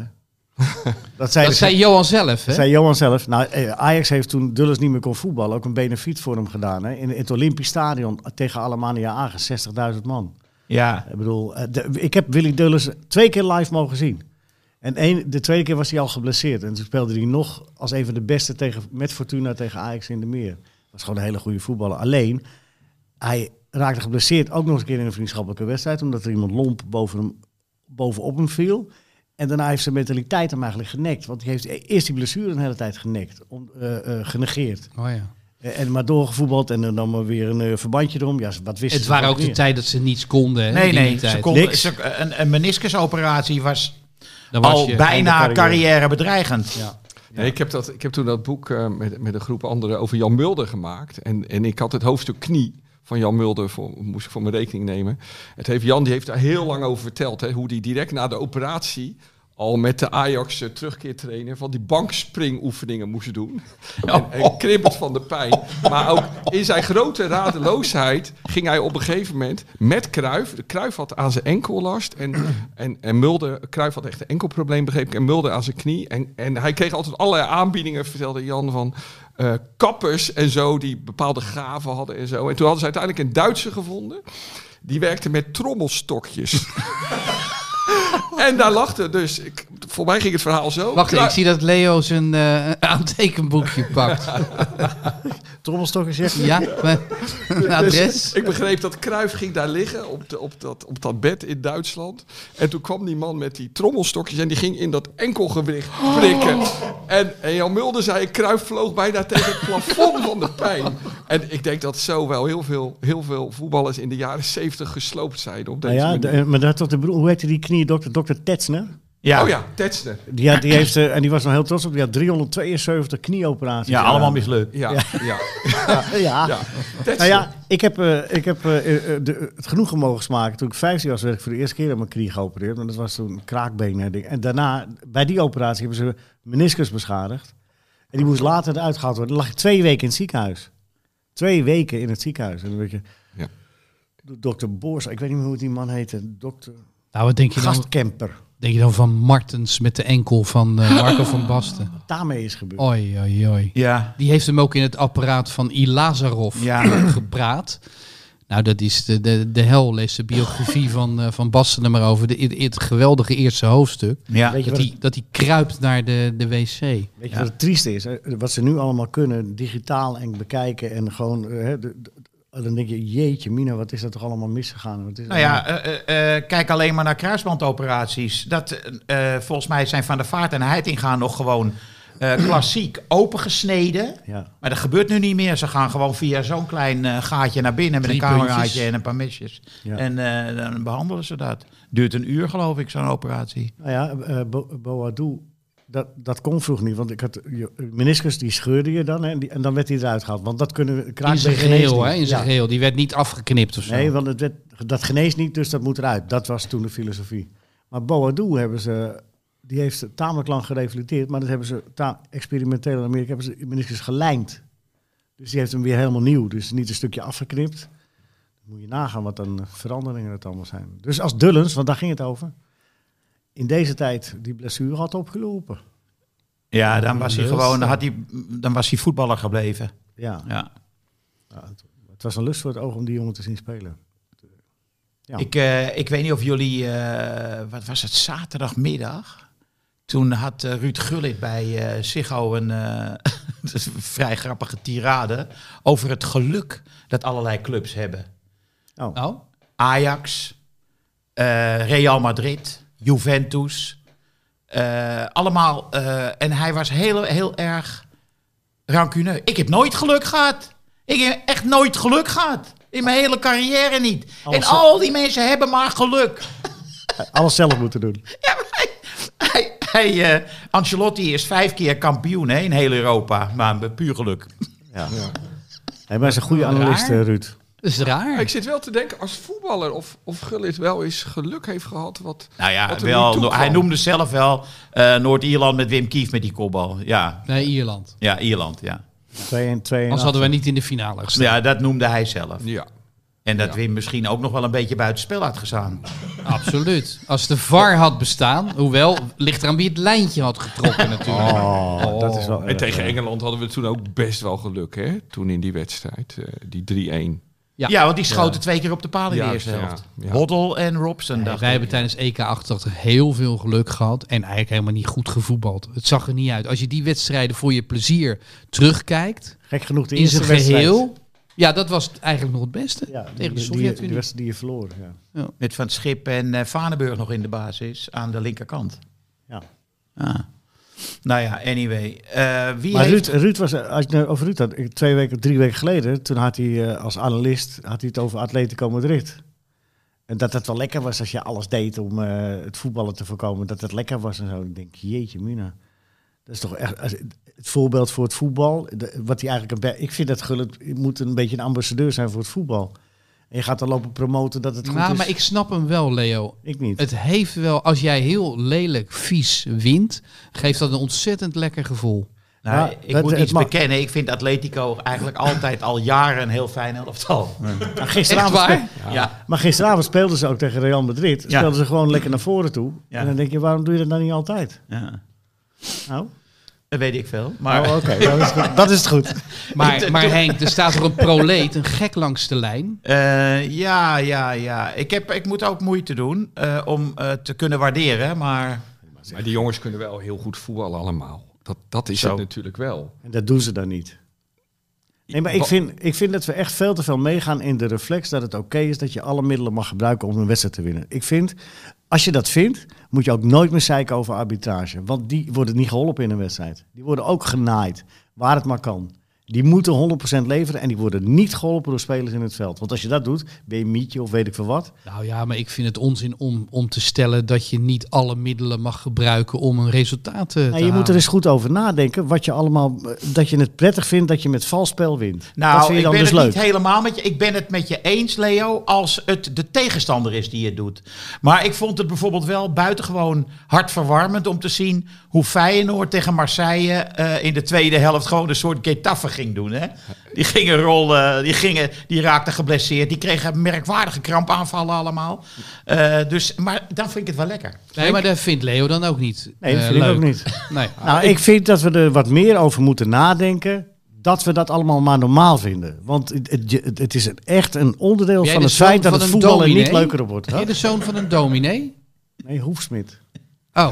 [SPEAKER 4] dat zei,
[SPEAKER 3] Dat
[SPEAKER 4] de-
[SPEAKER 3] zei Johan zelf, hè?
[SPEAKER 4] zei Johan zelf. Nou, eh, Ajax heeft toen Dulles niet meer kon voetballen ook een benefiet voor hem gedaan. Hè? In het Olympisch Stadion tegen Alemannia Agen, 60.000 man.
[SPEAKER 6] Ja.
[SPEAKER 4] Ik bedoel, eh, de- ik heb Willy Dulles twee keer live mogen zien. En één, de tweede keer was hij al geblesseerd. En toen speelde hij nog als een van de beste tegen, met Fortuna tegen Ajax in de meer. Was gewoon een hele goede voetballer. Alleen, hij raakte geblesseerd ook nog eens een keer in een vriendschappelijke wedstrijd. Omdat er iemand lomp boven hem, bovenop hem viel. En daarna heeft zijn mentaliteit hem eigenlijk genekt. Want hij heeft e- eerst die blessure een hele tijd genekt. Om, eh, eh, genegeerd.
[SPEAKER 3] Oh, ja.
[SPEAKER 4] Eh, en maar doorgevoetbald en er dan maar weer een eh, verbandje erom. Ja, wat wisten
[SPEAKER 3] Het
[SPEAKER 4] ze
[SPEAKER 3] waren
[SPEAKER 4] nog
[SPEAKER 3] ook de
[SPEAKER 4] meer?
[SPEAKER 3] tijd dat ze niets konden. Hè?
[SPEAKER 6] Nee,
[SPEAKER 3] in die
[SPEAKER 6] nee.
[SPEAKER 3] tijd.
[SPEAKER 6] Ze konden,
[SPEAKER 4] Niks.
[SPEAKER 6] ze- een, een meniscusoperatie was,
[SPEAKER 3] Dan was
[SPEAKER 6] al
[SPEAKER 3] je-
[SPEAKER 6] bijna
[SPEAKER 4] einde carrière.
[SPEAKER 6] carrièrebedreigend. Ja.
[SPEAKER 7] Nee, ik, heb dat, ik heb toen dat boek eh, met, met een groep anderen over Jan Mulder gemaakt. En, en ik had het hoofdstuk knie van Jan Mulder, voor, moest ik voor mijn rekening nemen. Het heeft, Jan die heeft daar heel lang over verteld, hè, hoe die direct na de operatie al met de Ajax eh, terugkeertrainer van die bankspringoefeningen moest doen. En, en kribbelt van de pijn. Maar ook in zijn grote radeloosheid ging hij op een gegeven moment met Kruif. Kruif had aan zijn enkel last. En, en, en Mulder, Kruif had echt een enkelprobleem, begreep ik. En Mulder aan zijn knie. En, en hij kreeg altijd allerlei aanbiedingen, vertelde Jan, van eh, kappers en zo, die bepaalde gaven hadden en zo. En toen hadden ze uiteindelijk een Duitse gevonden. Die werkte met trommelstokjes. En daar lachte dus. Ik, voor mij ging het verhaal zo.
[SPEAKER 3] Wacht,
[SPEAKER 7] Klaar-
[SPEAKER 3] ik zie dat Leo zijn eh, aantekenboekje pakt.
[SPEAKER 4] Trommelstok gezegd.
[SPEAKER 3] Ja, maar- een adres.
[SPEAKER 7] Dus Ik begreep dat Kruif ging daar liggen op, de, op, dat, op dat bed in Duitsland. En toen kwam die man met die trommelstokjes en die ging in dat enkelgewicht
[SPEAKER 6] Oh.
[SPEAKER 7] prikken. En, en Jan Mulder zei, Kruif vloog bijna tegen het plafond van de pijn. En ik denk dat zo wel heel veel, heel veel voetballers in de jaren zeventig gesloopt zijn.
[SPEAKER 4] Nou
[SPEAKER 7] Op deze
[SPEAKER 4] ja,
[SPEAKER 7] manier.
[SPEAKER 4] de- eh, maar dat tot de broer, hoe heette die kniedokter? Dokter Tetsner.
[SPEAKER 6] Ja,
[SPEAKER 7] Oh ja, Tetsner.
[SPEAKER 4] Die, had, die heeft, eh, en die was nog heel trots op, die had 372 knieoperaties.
[SPEAKER 6] ja
[SPEAKER 4] gedaan.
[SPEAKER 6] allemaal mislukt.
[SPEAKER 7] Ja, ja. ja.
[SPEAKER 4] Ja.
[SPEAKER 7] Tetsner.
[SPEAKER 4] Nou ja, ik heb, eh, ik heb eh, eh, de- het genoegen mogen smaken. Toen ik 15 was, werd ik voor de eerste keer aan mijn knie geopereerd. Want dat was toen een kraakbeen. en ding. En daarna, bij die operatie, hebben ze meniscus beschadigd. En die moest later eruit gehaald worden. Dan lag ik twee weken in het ziekenhuis. Twee weken in het ziekenhuis. En dan weet je,
[SPEAKER 7] Ja.
[SPEAKER 4] dokter Boors, ik weet niet meer hoe die man heette. Dokter
[SPEAKER 3] Nou, wat denk je, dan,
[SPEAKER 4] Gastkemper.
[SPEAKER 3] denk je dan van Martens met de enkel van eh, Marco van Basten?
[SPEAKER 4] Daarmee is gebeurd.
[SPEAKER 3] Oi, oi, oi.
[SPEAKER 6] Ja.
[SPEAKER 3] Die heeft hem ook in het apparaat van I. Lazarov
[SPEAKER 6] Ja.
[SPEAKER 3] gepraat. Nou, dat is de, de, de hel. Lees de biografie van, eh, van Basten er maar over. De, het, het geweldige eerste hoofdstuk.
[SPEAKER 6] ja.
[SPEAKER 4] Weet je
[SPEAKER 3] Dat
[SPEAKER 4] wat-
[SPEAKER 3] hij, dat hij kruipt naar de, de wc.
[SPEAKER 4] Weet je wat het trieste is? Eh, Wat ze nu allemaal kunnen, digitaal en bekijken en gewoon... eh, hè, de- de- dan denk je, jeetje mina, wat is dat toch allemaal misgegaan? Wat is
[SPEAKER 6] Nou ja, eh, eh, eh, kijk alleen maar naar kruisbandoperaties. Dat, eh, eh, volgens mij zijn Van der Vaart en Heitinga nog gewoon eh, klassiek opengesneden.
[SPEAKER 4] Ja.
[SPEAKER 6] Maar dat gebeurt nu niet meer. Ze gaan gewoon via zo'n klein eh, gaatje naar binnen met
[SPEAKER 3] Drie
[SPEAKER 6] een cameraatje
[SPEAKER 3] puntjes.
[SPEAKER 6] en een paar mesjes.
[SPEAKER 4] Ja.
[SPEAKER 6] En eh, dan behandelen ze dat. Duurt een uur geloof ik, zo'n operatie.
[SPEAKER 4] Nou ja, eh, Bo- Boadu, dat, dat kon vroeger niet. Want ik had, je, meniscus die scheurde je dan hè, en, die, en dan werd hij eruit gehaald. Want dat kunnen
[SPEAKER 3] In
[SPEAKER 4] kraakbeen
[SPEAKER 3] zijn
[SPEAKER 4] geneest
[SPEAKER 3] geheel,
[SPEAKER 4] niet.
[SPEAKER 3] hè? In zijn
[SPEAKER 4] Ja.
[SPEAKER 3] geheel. Die werd niet afgeknipt of zo.
[SPEAKER 4] Nee, want het werd, dat geneest niet, dus dat moet eruit. Dat was toen de filosofie. Maar Boadu hebben ze, die heeft tamelijk lang gerevalideerd, maar dat hebben ze ta- experimenteel in Amerika hebben ze meniscus gelijmd. Dus die heeft hem weer helemaal nieuw, dus niet een stukje afgeknipt. Moet je nagaan wat dan veranderingen het allemaal zijn. Dus als Dullens, want daar ging het over, in deze tijd die blessure had opgelopen.
[SPEAKER 6] Ja, dan was hij
[SPEAKER 4] Lust,
[SPEAKER 6] gewoon, dan,
[SPEAKER 4] ja.
[SPEAKER 6] had hij, dan was hij voetballer gebleven.
[SPEAKER 4] Ja,
[SPEAKER 6] Ja.
[SPEAKER 4] ja, het, het was een lust voor het oog om die jongen te zien spelen. Ja.
[SPEAKER 6] Ik, eh, ik weet niet of jullie, eh, wat was het, zaterdagmiddag? Toen had eh, Ruud Gullit bij eh Ziggo een eh, dat is een vrij grappige tirade over het geluk dat allerlei clubs hebben.
[SPEAKER 4] Oh,
[SPEAKER 3] Nou,
[SPEAKER 6] Ajax, eh, Real Madrid, Juventus. eh, allemaal. eh, en hij was heel, heel erg rancuneus. Ik heb nooit geluk gehad. Ik heb echt nooit geluk gehad. In mijn hele carrière niet.
[SPEAKER 7] Oh,
[SPEAKER 4] Alles-
[SPEAKER 6] en al die mensen hebben maar geluk.
[SPEAKER 4] alles zelf moeten doen.
[SPEAKER 6] Ja, maar hij, hij, hij, eh, Ancelotti is vijf keer kampioen hè, in heel Europa. Maar met puur geluk.
[SPEAKER 4] Ja. Hij was een goede analist,
[SPEAKER 3] Raar.
[SPEAKER 4] eh, Ruud.
[SPEAKER 3] dat is raar.
[SPEAKER 7] Maar Ik zit wel te denken, als voetballer of, of Gullit wel eens geluk heeft gehad. Wat,
[SPEAKER 6] Nou ja,
[SPEAKER 7] wat er niet
[SPEAKER 6] wel,
[SPEAKER 7] toe
[SPEAKER 6] hij
[SPEAKER 7] kwam.
[SPEAKER 6] noemde zelf wel eh, Noord-Ierland met Wim Kief met die kopbal. Ja,
[SPEAKER 3] Nee, Ierland.
[SPEAKER 6] ja Ierland, ja.
[SPEAKER 4] 2 en 2
[SPEAKER 3] Anders hadden wij niet in de finale gestaan.
[SPEAKER 6] Ja, dat noemde hij zelf.
[SPEAKER 7] Ja.
[SPEAKER 6] En dat
[SPEAKER 7] Ja.
[SPEAKER 6] Wim misschien ook nog wel een beetje buitenspel had gestaan.
[SPEAKER 3] Absoluut. Als de VAR had bestaan, hoewel, ligt eraan wie het lijntje had getrokken natuurlijk.
[SPEAKER 4] Oh, dat is wel.
[SPEAKER 7] En tegen Engeland hadden we toen ook best wel geluk, hè? Toen in die wedstrijd, eh, die 3-1.
[SPEAKER 3] Ja.
[SPEAKER 6] Ja, want die schoten twee keer op de paal in
[SPEAKER 7] Ja,
[SPEAKER 6] de eerste
[SPEAKER 7] ja,
[SPEAKER 6] helft.
[SPEAKER 7] ja.
[SPEAKER 6] Hoddle en Robson, dacht
[SPEAKER 3] Wij
[SPEAKER 6] ik.
[SPEAKER 3] hebben tijdens EK88 heel veel geluk gehad en eigenlijk helemaal niet goed gevoetbald. Het zag er niet uit. Als je die wedstrijden voor je plezier terugkijkt,
[SPEAKER 4] Gek genoeg, de
[SPEAKER 3] in
[SPEAKER 4] eerste
[SPEAKER 3] zijn
[SPEAKER 4] wedstrijd.
[SPEAKER 3] geheel... Ja, dat was eigenlijk nog het beste.
[SPEAKER 4] Ja, die,
[SPEAKER 3] tegen de
[SPEAKER 4] die- die, die
[SPEAKER 3] Sovjet-Unie.
[SPEAKER 4] wedstrijd die je verloor. Ja.
[SPEAKER 6] Met Van Schip en eh, Vaneburg nog in de basis aan de linkerkant.
[SPEAKER 4] Ja.
[SPEAKER 6] Ah. Nou ja, anyway. Eh, wie
[SPEAKER 4] Maar
[SPEAKER 6] heeft...
[SPEAKER 4] Ruud, Ruud was, eh, als je het over Ruud had, ik- twee weken, drie weken geleden, toen had hij eh, als analist had hij het over Atletico Madrid. En dat het wel lekker was als je alles deed om eh, het voetballen te voorkomen, dat het lekker was en zo. Ik denk, jeetje mina. Dat is toch echt als- het voorbeeld voor het voetbal. de- wat hij eigenlijk, een be- ik vind dat Gullit je moet een beetje een ambassadeur zijn voor het voetbal. En je gaat dan lopen promoten dat het goed
[SPEAKER 3] Nou,
[SPEAKER 4] is.
[SPEAKER 3] maar ik snap hem wel, Leo.
[SPEAKER 4] ik niet.
[SPEAKER 3] Het heeft wel, als jij heel lelijk, vies wint, geeft dat een ontzettend lekker gevoel.
[SPEAKER 6] Nou,
[SPEAKER 4] Ja,
[SPEAKER 6] ik
[SPEAKER 4] dat-
[SPEAKER 6] moet
[SPEAKER 4] het
[SPEAKER 6] iets
[SPEAKER 4] mag.
[SPEAKER 6] bekennen. Ik vind Atletico eigenlijk altijd al jaren een heel fijn elftal.
[SPEAKER 4] Nou,
[SPEAKER 3] Echt
[SPEAKER 4] gisteravond,
[SPEAKER 3] waar?
[SPEAKER 6] Ja.
[SPEAKER 4] Maar gisteravond speelden ze ook tegen Real Madrid.
[SPEAKER 6] Ja.
[SPEAKER 4] Speelden ze gewoon lekker naar voren toe.
[SPEAKER 6] Ja.
[SPEAKER 4] En dan denk je, waarom doe je dat nou niet altijd?
[SPEAKER 6] Ja.
[SPEAKER 4] Nou,
[SPEAKER 6] Dat weet ik veel. Maar
[SPEAKER 4] Oh, oké. dat is goed. Dat is het goed.
[SPEAKER 3] Maar, maar Henk, er staat er een proleet, een gek langs de lijn.
[SPEAKER 6] Eh, ja, ja, ja. Ik, heb, ik moet ook moeite doen eh, om eh, te kunnen waarderen. Maar
[SPEAKER 7] Maar die jongens kunnen wel heel goed voetballen allemaal. Dat, dat is
[SPEAKER 6] Zo.
[SPEAKER 7] het natuurlijk wel.
[SPEAKER 4] En dat doen ze dan niet. Nee, maar ik
[SPEAKER 7] Wa-
[SPEAKER 4] vind, ik vind dat we echt veel te veel meegaan in de reflex dat het oké is dat je alle middelen mag gebruiken om een wedstrijd te winnen. Ik vind, als je dat vindt, moet je ook nooit meer zeiken over arbitrage. Want die worden niet geholpen in een wedstrijd. Die worden ook genaaid, waar het maar kan. Die moeten 100% leveren en die worden niet geholpen door spelers in het veld. Want als je dat doet, ben je mietje of weet ik veel wat.
[SPEAKER 3] Nou ja, maar ik vind het onzin om, om te stellen dat je niet alle middelen mag gebruiken om een resultaat te,
[SPEAKER 4] Nou,
[SPEAKER 3] te
[SPEAKER 4] je moet er
[SPEAKER 3] halen.
[SPEAKER 4] eens goed over nadenken wat je allemaal, eh, dat je het prettig vindt dat je met vals spel wint. dat
[SPEAKER 6] nou,
[SPEAKER 4] vind je
[SPEAKER 6] ik
[SPEAKER 4] dan
[SPEAKER 6] ben
[SPEAKER 4] dus
[SPEAKER 6] het
[SPEAKER 4] leuk.
[SPEAKER 6] niet helemaal met je. Ik ben het met je eens, Leo, als het de tegenstander is die het doet. Maar ik vond het bijvoorbeeld wel buitengewoon hartverwarmend om te zien hoe Feyenoord tegen Marseille eh, in de tweede helft gewoon een soort Getafe ging doen. Hè? Die gingen rollen, die, gingen, die raakten geblesseerd, die kregen merkwaardige krampaanvallen allemaal. Eh, dus, maar dan vind ik het wel lekker.
[SPEAKER 3] Nee, maar dat vindt Leo dan ook niet.
[SPEAKER 4] Nee, dat
[SPEAKER 3] eh,
[SPEAKER 4] vind ik
[SPEAKER 3] leuk.
[SPEAKER 4] ook niet.
[SPEAKER 3] Nee.
[SPEAKER 4] Nou, ik vind dat we er wat meer over moeten nadenken. Dat we dat allemaal maar normaal vinden. Want het, het, het is een- echt een onderdeel
[SPEAKER 3] Jij
[SPEAKER 4] van
[SPEAKER 3] de
[SPEAKER 4] het
[SPEAKER 3] zoon
[SPEAKER 4] feit dat
[SPEAKER 3] van
[SPEAKER 4] het
[SPEAKER 3] een
[SPEAKER 4] voetbal er
[SPEAKER 3] dominee?
[SPEAKER 4] niet leuker op wordt.
[SPEAKER 3] Ben je de zoon van een dominee?
[SPEAKER 4] Nee, Hoefsmid.
[SPEAKER 3] Oh,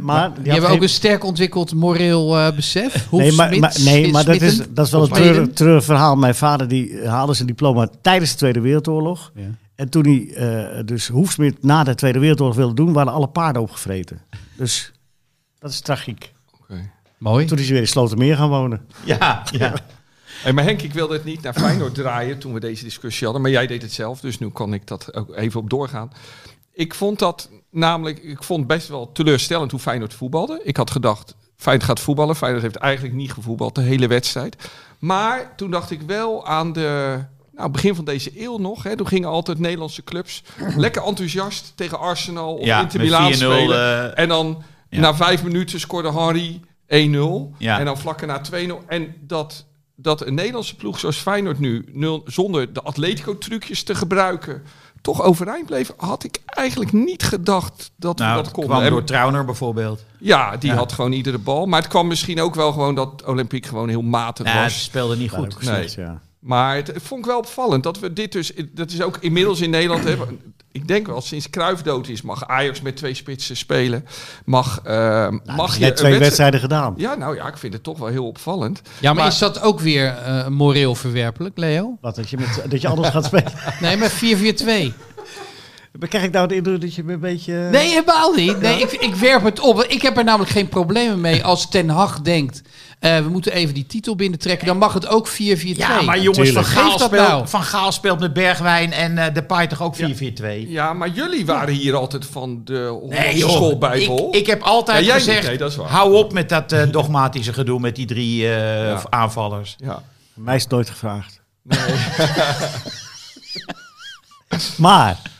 [SPEAKER 4] Maar
[SPEAKER 3] die hebben ook een sterk ontwikkeld moreel eh, besef. Hoef,
[SPEAKER 4] nee, maar, maar- nee, maar dat, is, dat is wel een
[SPEAKER 3] Of Smitten?
[SPEAKER 4] treurig, treurig verhaal. Mijn vader die eh, haalde zijn diploma tijdens de Tweede Wereldoorlog.
[SPEAKER 3] Ja.
[SPEAKER 4] En toen hij eh, dus Hoefsmid na de Tweede Wereldoorlog wilde doen, waren alle paarden opgevreten. Dus dat is tragiek.
[SPEAKER 7] Oké.
[SPEAKER 3] Mooi.
[SPEAKER 4] Toen is hij weer in Slotermeer gaan wonen.
[SPEAKER 6] Ja, ja.
[SPEAKER 7] Hey, maar Henk, ik wilde het niet naar Feyenoord draaien toen we deze discussie hadden. Maar jij deed het zelf, dus nu kan ik dat ook even op doorgaan. Ik vond dat namelijk, ik vond best wel teleurstellend hoe Feyenoord voetbalde. Ik had gedacht, Feyenoord gaat voetballen. Feyenoord heeft eigenlijk niet gevoetbald de hele wedstrijd. Maar toen dacht ik wel aan de, nou begin van deze eeuw nog. Hè, toen gingen altijd Nederlandse clubs lekker enthousiast tegen Arsenal of
[SPEAKER 6] Ja,
[SPEAKER 7] Inter
[SPEAKER 6] met
[SPEAKER 7] Milaan
[SPEAKER 6] 4-0,
[SPEAKER 7] spelen.
[SPEAKER 6] eh,
[SPEAKER 7] En dan
[SPEAKER 6] Ja.
[SPEAKER 7] na vijf minuten scoorde Harry 1-0.
[SPEAKER 6] Ja.
[SPEAKER 7] En dan vlak na 2-0. En dat, dat een Nederlandse ploeg zoals Feyenoord nu, nul, zonder de Atletico-trucjes te gebruiken, toch overeind bleef, had ik eigenlijk niet gedacht dat we
[SPEAKER 6] Nou,
[SPEAKER 7] dat
[SPEAKER 6] dat
[SPEAKER 7] konden.
[SPEAKER 6] kwam
[SPEAKER 7] En-
[SPEAKER 6] door Trauner bijvoorbeeld.
[SPEAKER 7] ja, die
[SPEAKER 6] Ja.
[SPEAKER 7] had gewoon iedere bal. Maar het kwam misschien ook wel gewoon dat Olympiek gewoon heel matig
[SPEAKER 6] Nee, ze
[SPEAKER 7] was.
[SPEAKER 6] speelden niet goed.
[SPEAKER 7] Nee.
[SPEAKER 4] Slecht, ja.
[SPEAKER 7] Maar het, het vond ik wel opvallend dat we dit dus... Dat is ook inmiddels in Nederland... Hè, ik denk wel, sinds Cruijff dood is... mag Ajax met twee spitsen spelen. Mag, eh, mag je...
[SPEAKER 4] Nou, Net
[SPEAKER 7] een
[SPEAKER 4] twee
[SPEAKER 7] wedstrijd-
[SPEAKER 4] wedstrijden gedaan.
[SPEAKER 7] Ja, nou ja, ik vind het toch wel heel opvallend.
[SPEAKER 3] Ja, maar,
[SPEAKER 7] Maar-
[SPEAKER 3] is dat ook weer eh, moreel verwerpelijk, Leo?
[SPEAKER 4] Wat, dat je, met, dat je anders gaat spelen?
[SPEAKER 3] Nee, maar 4-4-2.
[SPEAKER 4] Maar Krijg ik nou de indruk dat je me een beetje... eh,
[SPEAKER 3] Nee, helemaal niet. Nee, ik, ik werp het op. Ik heb er namelijk geen problemen mee als Ten Hag denkt... eh, we moeten even die titel binnentrekken. Dan mag het ook 4-4-2.
[SPEAKER 6] Ja, maar jongens, van
[SPEAKER 4] Tuurlijk.
[SPEAKER 6] Gaal,
[SPEAKER 3] Geef dat
[SPEAKER 6] speelt,
[SPEAKER 3] nou.
[SPEAKER 6] van Gaal speelt met Bergwijn en eh, Depay toch ook 4-4-2?
[SPEAKER 7] Ja, maar jullie waren hier altijd van de Hollandse
[SPEAKER 6] Nee, joh.
[SPEAKER 7] schoolbijbel.
[SPEAKER 6] Ik, ik heb altijd
[SPEAKER 7] Ja, jij
[SPEAKER 6] gezegd,
[SPEAKER 7] niet. Nee, dat is waar.
[SPEAKER 6] hou op met dat eh, dogmatische gedoe met die drie eh,
[SPEAKER 7] Ja.
[SPEAKER 6] aanvallers.
[SPEAKER 7] Ja.
[SPEAKER 4] Mij is het nooit gevraagd. maar...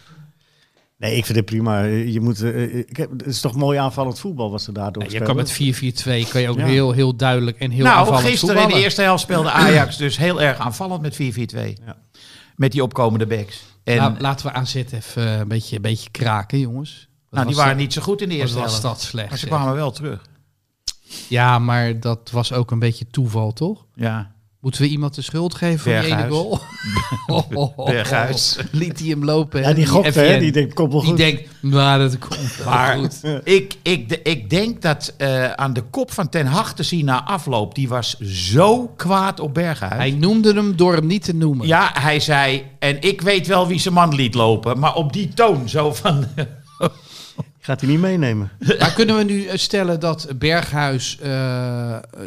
[SPEAKER 4] Nee, ik vind het prima. Je moet, eh, ik heb- het is toch mooi aanvallend voetbal wat ze daardoor
[SPEAKER 3] je
[SPEAKER 4] spelen.
[SPEAKER 3] kan met 4-4-2 kan je ook
[SPEAKER 4] Ja.
[SPEAKER 3] heel, heel duidelijk en heel
[SPEAKER 6] nou,
[SPEAKER 3] aanvallend
[SPEAKER 6] gisteren in
[SPEAKER 3] voetballen.
[SPEAKER 6] de eerste helft speelde Ajax dus heel erg aanvallend met 4-4-2.
[SPEAKER 4] Ja.
[SPEAKER 6] Met die opkomende backs. En
[SPEAKER 3] Nou,
[SPEAKER 6] nou,
[SPEAKER 3] laten we AZ even eh, een beetje, een beetje kraken, jongens. Wat
[SPEAKER 6] die
[SPEAKER 3] was
[SPEAKER 6] waren
[SPEAKER 3] dat-
[SPEAKER 6] niet zo goed in de
[SPEAKER 3] wat
[SPEAKER 6] eerste
[SPEAKER 3] was
[SPEAKER 6] helft.
[SPEAKER 3] dat slecht.
[SPEAKER 6] Maar ze
[SPEAKER 3] zeg.
[SPEAKER 6] kwamen wel terug.
[SPEAKER 3] Ja, maar dat was ook een beetje toeval, toch?
[SPEAKER 6] Ja,
[SPEAKER 3] Moeten we iemand de schuld geven voor die ene
[SPEAKER 6] Berghuis.
[SPEAKER 3] goal? Oh,
[SPEAKER 6] Berghuis.
[SPEAKER 3] Liet hij hem lopen. hè?
[SPEAKER 4] Ja, die gokt, hè?
[SPEAKER 3] FN.
[SPEAKER 4] Die denkt, komt wel
[SPEAKER 3] Die
[SPEAKER 4] goed.
[SPEAKER 3] denkt, nou, dat komt wel
[SPEAKER 6] Maar
[SPEAKER 3] goed.
[SPEAKER 6] ik, ik, de- ik denk dat eh, aan de kop van Ten Hag te zien na afloop, die was zo kwaad op Berghuis.
[SPEAKER 3] Hij noemde hem door hem niet te noemen.
[SPEAKER 6] Ja, hij zei, en ik weet wel wie zijn man liet lopen, maar op die toon zo van...
[SPEAKER 4] Gaat hij niet meenemen.
[SPEAKER 3] Maar kunnen we nu eh, stellen dat Berghuis... eh,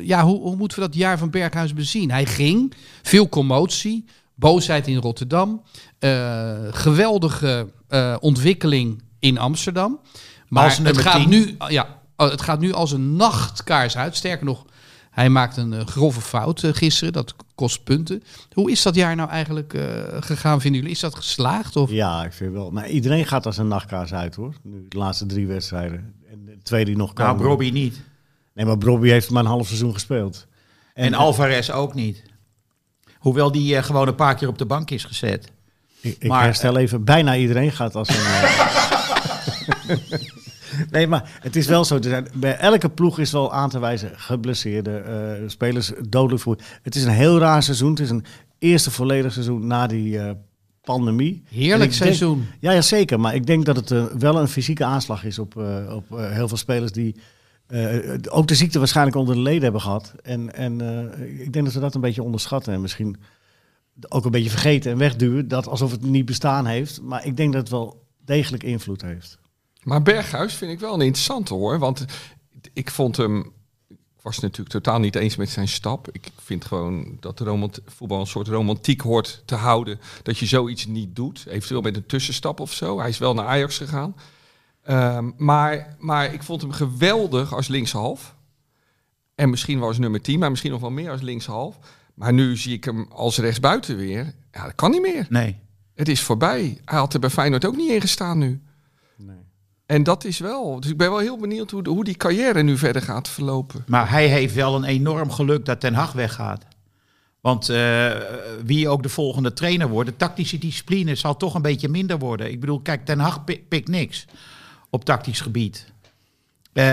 [SPEAKER 3] ja, hoe, hoe moeten we dat jaar van Berghuis bezien? Hij ging, veel commotie, boosheid in Rotterdam... eh, geweldige eh, ontwikkeling in Amsterdam. Maar
[SPEAKER 6] Als
[SPEAKER 3] het
[SPEAKER 6] nummer
[SPEAKER 3] gaat,
[SPEAKER 6] 10.
[SPEAKER 3] nu, ja, eh, het gaat nu als een nachtkaars uit. Sterker nog, hij maakt een eh, grove fout eh, gisteren. Dat kost punten. Hoe is dat jaar nou eigenlijk eh, gegaan, vinden jullie? Is dat geslaagd? Of?
[SPEAKER 4] Ja, ik vind wel. Maar iedereen gaat als een nachtkaars uit, hoor. Nu de laatste drie wedstrijden. En de twee die nog komen.
[SPEAKER 6] Nou, Robbie niet.
[SPEAKER 4] Nee, maar Robbie heeft maar een half seizoen gespeeld.
[SPEAKER 6] En, Alvarez ook niet. Hoewel die eh, gewoon een paar keer op de bank is gezet.
[SPEAKER 4] Ik, ik
[SPEAKER 6] Maar,
[SPEAKER 4] herstel even. Bijna iedereen gaat als een... eh, Nee, maar het is wel zo. Er zijn, bij elke ploeg is wel aan te wijzen geblesseerde eh, spelers, dodelijk voor. Het is een heel raar seizoen. Het is een eerste volledig seizoen na die eh, pandemie. En
[SPEAKER 3] Heerlijk
[SPEAKER 4] ik denk-
[SPEAKER 3] seizoen.
[SPEAKER 4] ja, ja, zeker. Maar ik denk dat het eh, wel een fysieke aanslag is op, eh, op eh, heel veel spelers die eh, eh, ook de ziekte waarschijnlijk onder de leden hebben gehad. En, en eh, ik denk dat we dat een beetje onderschatten en misschien ook een beetje vergeten en wegduwen. Dat alsof het niet bestaan heeft. Maar ik denk dat het wel degelijk invloed heeft.
[SPEAKER 7] Maar Berghuis vind ik wel een interessante hoor. Want ik vond hem. Ik was natuurlijk totaal niet eens met zijn stap. Ik vind gewoon dat de romant, voetbal een soort romantiek hoort te houden. Dat je zoiets niet doet. Eventueel met een tussenstap of zo. Hij is wel naar Ajax gegaan. Ehm, maar, maar ik vond hem geweldig als linkshalf. En misschien wel als nummer 10, maar misschien nog wel meer als linkshalf. Maar nu zie ik hem als rechtsbuiten weer. Ja, dat kan niet meer.
[SPEAKER 6] Nee.
[SPEAKER 7] Het is voorbij. Hij had er bij Feyenoord ook niet in gestaan nu. En dat is wel. Dus ik ben wel heel benieuwd hoe, de- hoe die carrière nu verder gaat verlopen.
[SPEAKER 6] Maar hij heeft wel een enorm geluk dat Ten Hag weggaat. Want eh, wie ook de volgende trainer wordt, de tactische discipline zal toch een beetje minder worden. Ik bedoel, kijk, Ten Hag pi- pikt niks op tactisch gebied.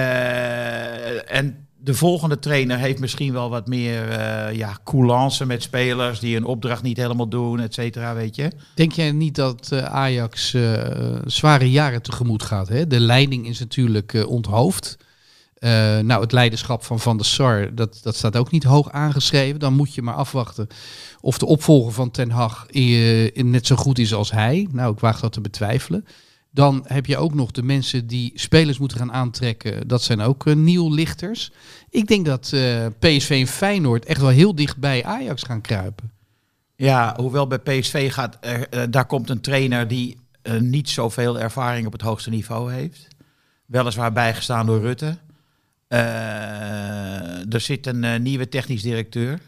[SPEAKER 6] Eh, en de volgende trainer heeft misschien wel wat meer eh, ja, coulance met spelers die hun opdracht niet helemaal doen, et cetera, weet je.
[SPEAKER 3] Denk jij niet dat eh, Ajax eh, zware jaren tegemoet gaat? Hè? De leiding is natuurlijk eh, onthoofd. Eh, nou, het leiderschap van Van der Sar, dat, dat staat ook niet hoog aangeschreven. Dan moet je maar afwachten of de opvolger van Ten Hag eh, net zo goed is als hij. Nou, ik waag dat te betwijfelen. Dan heb je ook nog de mensen die spelers moeten gaan aantrekken. Dat zijn ook eh, nieuw lichters. Ik denk dat eh, PSV en Feyenoord echt wel heel dicht bij Ajax gaan kruipen.
[SPEAKER 6] Ja, hoewel bij PSV gaat, er- eh, daar komt een trainer die eh, niet zoveel ervaring op het hoogste niveau heeft. Weliswaar bijgestaan door Rutte. Eh, er zit een eh, nieuwe technisch directeur.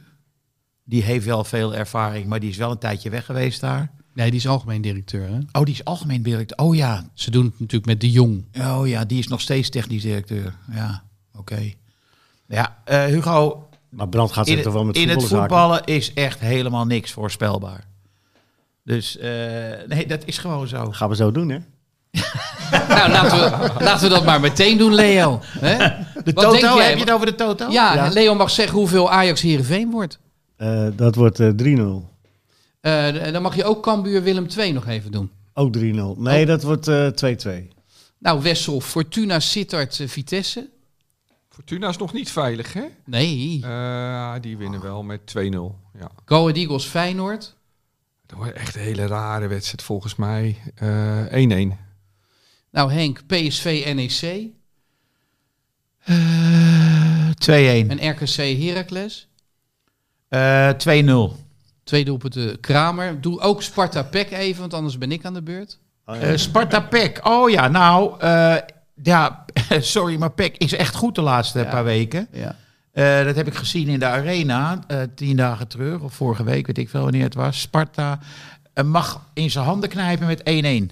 [SPEAKER 6] Die heeft wel veel ervaring, maar die is wel een tijdje weg geweest daar.
[SPEAKER 3] Nee, die is algemeen directeur. Hè?
[SPEAKER 6] Oh, die is algemeen directeur. Oh ja,
[SPEAKER 3] Ze doen het natuurlijk met de Jong.
[SPEAKER 6] Oh ja, die is nog steeds technisch directeur. Ja, oké. Ja, eh, Hugo,
[SPEAKER 4] Maar Brand gaat zich
[SPEAKER 6] in,
[SPEAKER 4] toch wel met
[SPEAKER 6] in het
[SPEAKER 4] voetballen zaken.
[SPEAKER 6] voetballen is echt helemaal niks voorspelbaar. Dus eh, nee, dat is gewoon zo.
[SPEAKER 4] Dat gaan we zo doen, hè?
[SPEAKER 3] Nou, laten we, laten we dat maar meteen doen, Leo. Hè?
[SPEAKER 6] De
[SPEAKER 3] Wat
[SPEAKER 6] toto,
[SPEAKER 3] denk jij?
[SPEAKER 6] heb je het over de toto?
[SPEAKER 3] Ja,
[SPEAKER 4] Ja.
[SPEAKER 3] Leo mag zeggen hoeveel Ajax Heerenveen wordt.
[SPEAKER 4] Eh, dat wordt eh, 3-0.
[SPEAKER 3] Eh, dan mag je ook Cambuur Willem II nog even doen.
[SPEAKER 4] Ook 3-0. Nee,
[SPEAKER 6] Oh.
[SPEAKER 4] dat wordt eh, 2-2.
[SPEAKER 3] Nou, Wessel, Fortuna, Sittard, eh, Vitesse.
[SPEAKER 7] Fortuna is nog niet veilig, hè?
[SPEAKER 3] Nee,
[SPEAKER 7] Eh, die winnen wel met 2-0. Ja.
[SPEAKER 3] Go Ahead Eagles, Feyenoord.
[SPEAKER 7] Dat wordt echt een hele rare wedstrijd volgens mij. Eh, 1-1.
[SPEAKER 3] Nou, Henk, PSV, NEC.
[SPEAKER 6] Eh, 2-1.
[SPEAKER 3] En RKC, Heracles.
[SPEAKER 6] Eh, 2-0.
[SPEAKER 3] Twee doelpunten, Kramer. Doe ook Sparta, PEC even, want anders ben ik aan de beurt.
[SPEAKER 4] Oh,
[SPEAKER 6] Eh, Sparta Pek. Oh ja, nou, eh, ja, sorry, maar Pek is echt goed de laatste
[SPEAKER 3] Ja.
[SPEAKER 6] paar weken.
[SPEAKER 3] Ja.
[SPEAKER 6] Eh, dat heb ik gezien in de arena, eh, tien dagen terug, of vorige week, weet ik veel wanneer het was. Sparta eh, mag in zijn handen knijpen met 1-1.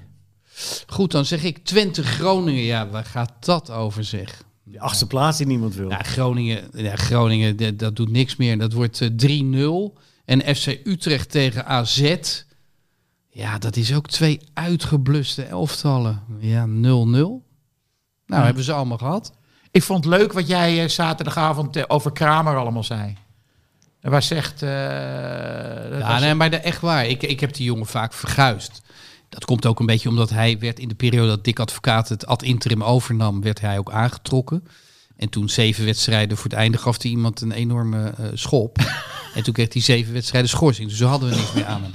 [SPEAKER 3] Goed, dan zeg ik Twente, Groningen. Ja, waar gaat dat over, zeg?
[SPEAKER 4] De achtste plaats die niemand wil.
[SPEAKER 3] Ja, Groningen, ja, Groningen dat, dat doet niks meer. Dat wordt eh, 3-0. En FC Utrecht tegen AZ. Ja, dat is ook twee uitgebluste elftallen. Ja, 0-0. Nou, hebben ze allemaal gehad.
[SPEAKER 6] Ik vond het leuk wat jij eh, zaterdagavond eh, over Kramer allemaal zei. Dat was echt... eh, dat
[SPEAKER 3] Ja,
[SPEAKER 6] eh, was-
[SPEAKER 3] nee, maar de- echt waar. Ik, ik heb die jongen vaak verguisd. Dat komt ook een beetje omdat hij werd in de periode dat Dick Advocaat het ad interim overnam, werd hij ook aangetrokken. En toen zeven wedstrijden voor het einde gaf hij iemand een enorme eh, schop. en toen kreeg hij zeven wedstrijden schorsing. Dus zo hadden we niks meer aan hem.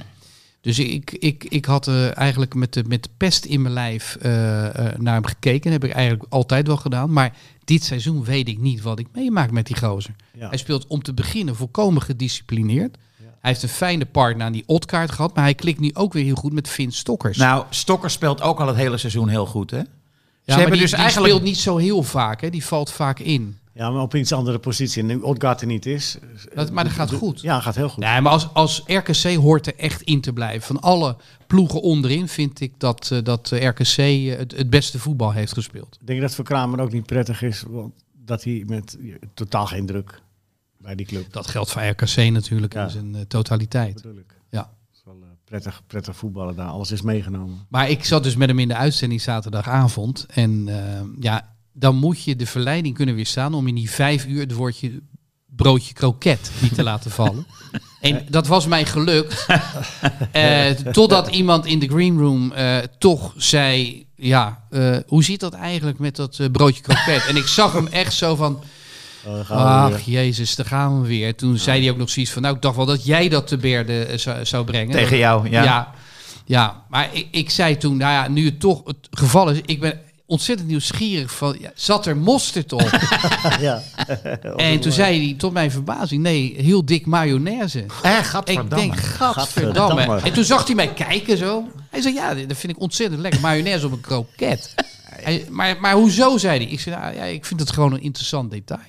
[SPEAKER 3] Dus ik, ik, ik had eh, eigenlijk met de, met de pest in mijn lijf eh, eh, naar hem gekeken. Dat heb ik eigenlijk altijd wel gedaan. Maar dit seizoen weet ik niet wat ik meemaak met die gozer.
[SPEAKER 4] Ja.
[SPEAKER 3] Hij speelt om te beginnen volkomen gedisciplineerd. Hij heeft een fijne partner aan die Otkaart gehad. Maar hij klikt nu ook weer heel goed met Vin Stokkers.
[SPEAKER 6] Nou, Stokker speelt ook al het hele seizoen heel goed, hè?
[SPEAKER 3] ja,
[SPEAKER 6] hebben
[SPEAKER 3] maar die,
[SPEAKER 6] dus
[SPEAKER 3] die
[SPEAKER 6] eigenlijk-
[SPEAKER 3] speelt niet zo heel vaak. Hè. Die valt vaak in.
[SPEAKER 4] Ja, maar op iets andere positie. En nu Odgaard er niet is.
[SPEAKER 3] Dat, maar dat gaat goed.
[SPEAKER 4] Ja, gaat heel goed.
[SPEAKER 3] Nee, maar als, als RKC hoort er echt in te blijven. Van alle ploegen onderin vind ik dat, eh, dat eh, RKC eh, het, het beste voetbal heeft gespeeld.
[SPEAKER 4] Ik denk dat het voor Kramer ook niet prettig is, want dat hij met totaal geen druk bij die club.
[SPEAKER 3] Dat geldt voor RKC natuurlijk
[SPEAKER 4] Ja.
[SPEAKER 3] in zijn eh, totaliteit.
[SPEAKER 4] bedoel ik.
[SPEAKER 3] Ja.
[SPEAKER 4] wel eh, prettig, prettig voetballen daar. Alles is meegenomen.
[SPEAKER 3] Maar ik zat dus met hem in de uitzending zaterdagavond. En eh, ja, dan moet je de verleiding kunnen weerstaan om in die vijf uur het woordje broodje kroket niet te laten vallen. En dat was mij gelukt. Eh, totdat iemand in de green room eh, toch zei... Ja, eh, hoe zit dat eigenlijk met dat eh, broodje kroket? En ik zag hem echt zo van...
[SPEAKER 4] Oh, daar gaan we
[SPEAKER 3] Ach,
[SPEAKER 4] weer.
[SPEAKER 3] jezus, daar gaan we weer. Toen zei hij ook nog zoiets van... Nou, ik dacht wel dat jij dat te berde eh, zou, zou brengen.
[SPEAKER 6] Tegen jou,
[SPEAKER 3] Ja.
[SPEAKER 6] ja.
[SPEAKER 3] ja. maar ik, ik zei toen, nou ja, nu het toch het geval is, ik ben ontzettend nieuwsgierig van, ja, zat er mosterd op?
[SPEAKER 4] ja.
[SPEAKER 3] en
[SPEAKER 6] Oh,
[SPEAKER 3] toen zei hij, tot mijn verbazing, nee, heel dik mayonaise.
[SPEAKER 6] Hè,
[SPEAKER 3] Ik
[SPEAKER 6] gadverdamme.
[SPEAKER 3] denk, gadverdamme.
[SPEAKER 4] Gadverdamme.
[SPEAKER 3] En toen zag hij mij kijken zo. Hij zei, ja, dat vind ik ontzettend lekker, mayonaise op een kroket. Hij- maar, maar hoezo, zei hij? Ik zei, nou, ja, ik vind het gewoon een interessant detail.